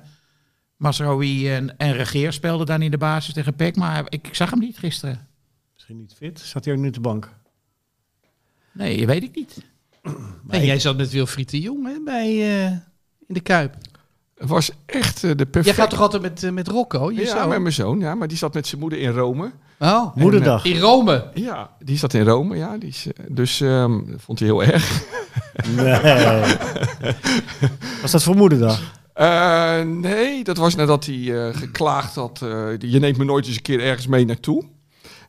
[SPEAKER 6] Mazraoui en, en Regeer speelden dan in de basis tegen Peck. Maar ik, ik zag hem niet gisteren.
[SPEAKER 4] Misschien niet fit. Zat hij ook nu op de bank?
[SPEAKER 6] Nee, weet ik niet.
[SPEAKER 3] En jij zat met Wilfried de Jong hè, bij, eh, in de Kuip.
[SPEAKER 7] Het was echt eh, de
[SPEAKER 3] Jij
[SPEAKER 7] perfecte...
[SPEAKER 3] gaat toch altijd met, eh, met Rocco? Je
[SPEAKER 7] Ja,
[SPEAKER 3] zoon?
[SPEAKER 7] met mijn zoon, ja, maar die zat met zijn moeder in Rome.
[SPEAKER 3] Oh,
[SPEAKER 4] Moederdag.
[SPEAKER 3] in Rome.
[SPEAKER 7] Ja, die zat in Rome, ja. Die is, eh, dus ehm, dat vond hij heel erg.
[SPEAKER 4] Nee. Was dat voor moederdag?
[SPEAKER 7] Eh, nee, dat was nadat hij eh, geklaagd had. eh, je neemt me nooit eens een keer ergens mee naartoe.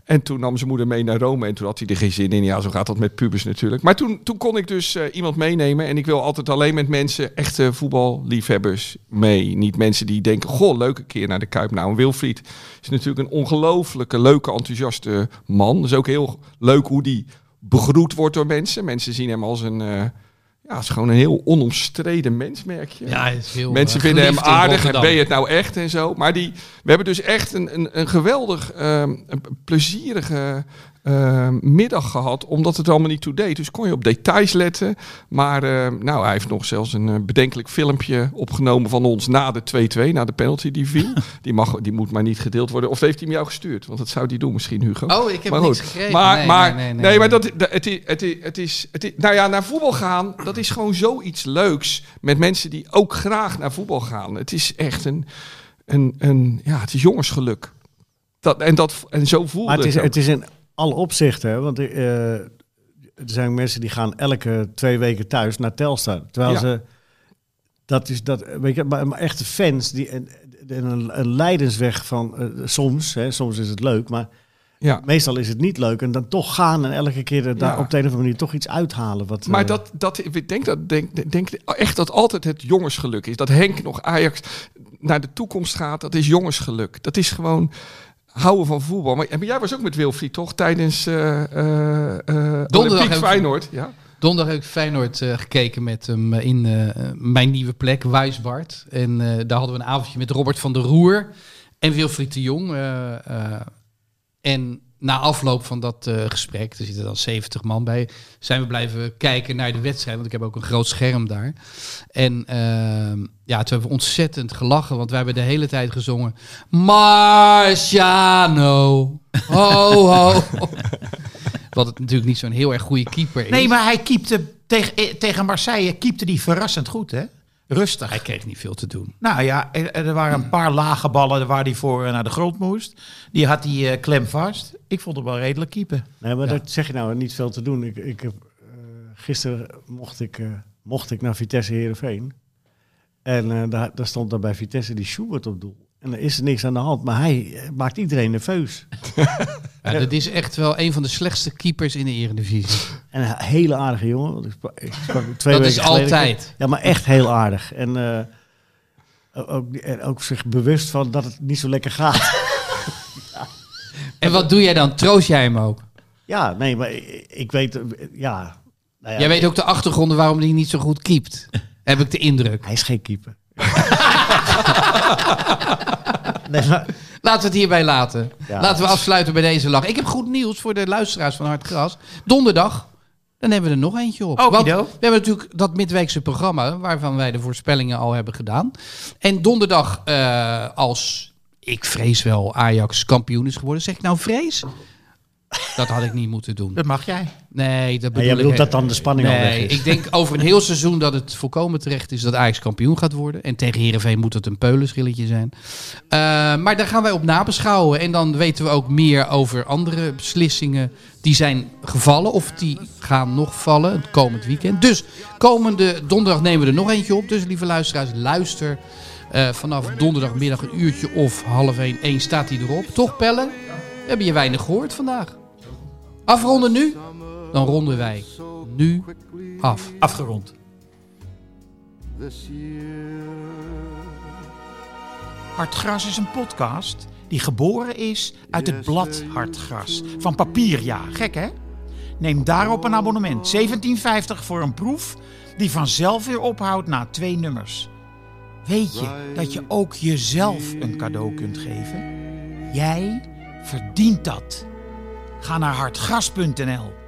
[SPEAKER 7] En toen nam zijn moeder mee naar Rome en toen had hij er geen zin in. Ja, zo gaat dat met pubers natuurlijk. Maar toen, toen kon ik dus eh, iemand meenemen. En ik wil altijd alleen met mensen, echte voetballiefhebbers, mee. Niet mensen die denken, goh, leuke keer naar de Kuip. Nou, en Wilfried is natuurlijk een ongelooflijke, leuke, enthousiaste man. Dus ook heel leuk hoe die begroet wordt door mensen. Mensen zien hem als een... eh, ja, het is gewoon een heel onomstreden mens, merk je.
[SPEAKER 3] Ja, hij is heel,
[SPEAKER 7] Mensen
[SPEAKER 3] eh,
[SPEAKER 7] vinden hem
[SPEAKER 3] geliefd in
[SPEAKER 7] aardig en
[SPEAKER 3] Rotterdam.
[SPEAKER 7] ben je het nou echt en zo. Maar die, we hebben dus echt een, een, een geweldig ehm, een plezierige ehm, middag gehad. Omdat het allemaal niet toe deed. Dus kon je op details letten. Maar ehm, nou, hij heeft nog zelfs een eh, bedenkelijk filmpje opgenomen van ons na de 2-2. Na de penalty die viel. die, mag, die moet maar niet gedeeld worden. Of heeft hij hem jou gestuurd? Want dat zou die doen misschien, Hugo.
[SPEAKER 3] Oh, ik heb
[SPEAKER 7] Maar
[SPEAKER 3] niks
[SPEAKER 7] goed.
[SPEAKER 3] gekregen.
[SPEAKER 7] Maar,
[SPEAKER 3] nee,
[SPEAKER 7] maar,
[SPEAKER 3] nee,
[SPEAKER 7] nee,
[SPEAKER 3] nee, nee,
[SPEAKER 7] maar
[SPEAKER 3] nee.
[SPEAKER 7] dat, dat- het, is, het, is, het, is, het is... Nou ja, naar voetbal gaan, dat is gewoon zoiets leuks. Met mensen die ook graag naar voetbal gaan. Het is echt een... een, een ja, het is jongensgeluk. Dat, en, dat, en zo voelde
[SPEAKER 4] Maar het is,
[SPEAKER 7] ook.
[SPEAKER 4] het is in alle opzichten, hè, want eh, er zijn mensen die gaan elke twee weken thuis naar Telstar. Terwijl
[SPEAKER 7] Ja.
[SPEAKER 4] ze, dat is dat, weet je, maar, maar echte fans, die, en, en een, een leidensweg van eh, soms, hè, soms is het leuk, maar
[SPEAKER 7] ja.
[SPEAKER 4] meestal is het niet leuk. En dan toch gaan en elke keer er daar
[SPEAKER 7] Ja.
[SPEAKER 4] op de een of andere manier toch iets uithalen. Wat,
[SPEAKER 7] Maar
[SPEAKER 4] eh,
[SPEAKER 7] dat, dat, ik denk, dat, denk, denk echt dat altijd het jongensgeluk is. Dat Henk nog Ajax naar de toekomst gaat, dat is jongensgeluk. Dat is gewoon houden van voetbal. Maar, maar jij was ook met Wilfried, toch? Tijdens eh eh eh Olympiek
[SPEAKER 3] hebben we-
[SPEAKER 7] Feyenoord. Ja?
[SPEAKER 3] Donderdag heb ik Feyenoord eh, gekeken met hem eh, in eh, mijn nieuwe plek, Wijsbart. En eh, daar hadden we een avondje met Robert van der Roer en Wilfried de Jong. eh, eh, en na afloop van dat eh, gesprek, er zitten dan 70 man bij, zijn we blijven kijken naar de wedstrijd. Want ik heb ook een groot scherm daar. En ehm, ja, toen hebben we ontzettend gelachen, want wij hebben de hele tijd gezongen... Marciano, ho ho. Wat het natuurlijk niet zo'n heel erg goede keeper is.
[SPEAKER 6] Nee, maar hij keepte tegen, eh, tegen Marseille keepte die verrassend goed, hè? Rustig.
[SPEAKER 3] Hij kreeg niet veel te doen.
[SPEAKER 6] Nou ja, er, er waren een paar lage ballen waar hij voor eh, naar de grond moest. Die had hij eh, klem vast. Ik vond hem wel redelijk keeper.
[SPEAKER 4] Nee, maar
[SPEAKER 3] Ja.
[SPEAKER 4] dat zeg je nou niet veel te doen. Ik, ik heb, eh, gisteren mocht ik, eh, mocht ik naar Vitesse Herenveen. En eh, daar, daar stond dan bij Vitesse die Schubert op doel. En er is niks aan de hand, maar hij eh, maakt iedereen nerveus.
[SPEAKER 3] Ja, dat is echt wel een van de slechtste keepers in de Eredivisie.
[SPEAKER 4] En een hele aardige jongen. Want ik spra- ik sprak hem twee
[SPEAKER 3] Dat
[SPEAKER 4] weken
[SPEAKER 3] is
[SPEAKER 4] geleden.
[SPEAKER 3] altijd.
[SPEAKER 4] Ja, maar echt heel aardig. En eh, ook, en ook zich bewust van dat het niet zo lekker gaat.
[SPEAKER 3] En wat doe jij dan? Troost jij hem ook?
[SPEAKER 4] ja, nee, maar ik, ik weet... eh, Ja, nou ja,
[SPEAKER 3] Jij weet ook de achtergronden waarom hij niet zo goed keept. Heb ik de indruk.
[SPEAKER 4] Hij is geen keeper. nee, maar...
[SPEAKER 3] Laten we het hierbij laten.
[SPEAKER 4] Ja.
[SPEAKER 3] Laten we afsluiten bij deze lach. Ik heb goed nieuws voor de luisteraars van Hard Gras. Donderdag, dan hebben we er nog eentje op.
[SPEAKER 6] Okido.
[SPEAKER 3] Want we hebben natuurlijk dat midweekse programma... waarvan wij de voorspellingen al hebben gedaan. En donderdag, eh, als ik vrees wel Ajax kampioen is geworden... zeg ik nou vrees? Dat had ik niet moeten doen.
[SPEAKER 6] Dat mag jij.
[SPEAKER 3] Nee, dat
[SPEAKER 4] Ja,
[SPEAKER 3] bedoel
[SPEAKER 4] jij bedoelt
[SPEAKER 3] ik.
[SPEAKER 4] dat dan de spanning al weg
[SPEAKER 3] Nee,
[SPEAKER 4] is.
[SPEAKER 3] ik denk over een heel seizoen dat het volkomen terecht is dat Ajax kampioen gaat worden. En tegen Heerenveen moet het een peulenschilletje zijn. Eh, maar daar gaan wij op nabeschouwen. En dan weten we ook meer over andere beslissingen die zijn gevallen. Of die gaan nog vallen het komend weekend. Dus komende donderdag nemen we er nog eentje op. Dus lieve luisteraars, luister. eh, vanaf donderdagmiddag een uurtje of half één, één staat hij erop. Toch pellen? We hebben je weinig gehoord vandaag. Afronden nu? Dan ronden wij nu af.
[SPEAKER 6] Afgerond.
[SPEAKER 5] this year.
[SPEAKER 6] Hartgras is een podcast die geboren is uit het blad Hartgras. Van papier, ja. Gek, hè? Neem daarop een abonnement. 17,50 voor een proef die vanzelf weer ophoudt na twee nummers. Weet je dat je ook jezelf een cadeau kunt geven? Jij verdient dat. Ga naar hartgras.nl.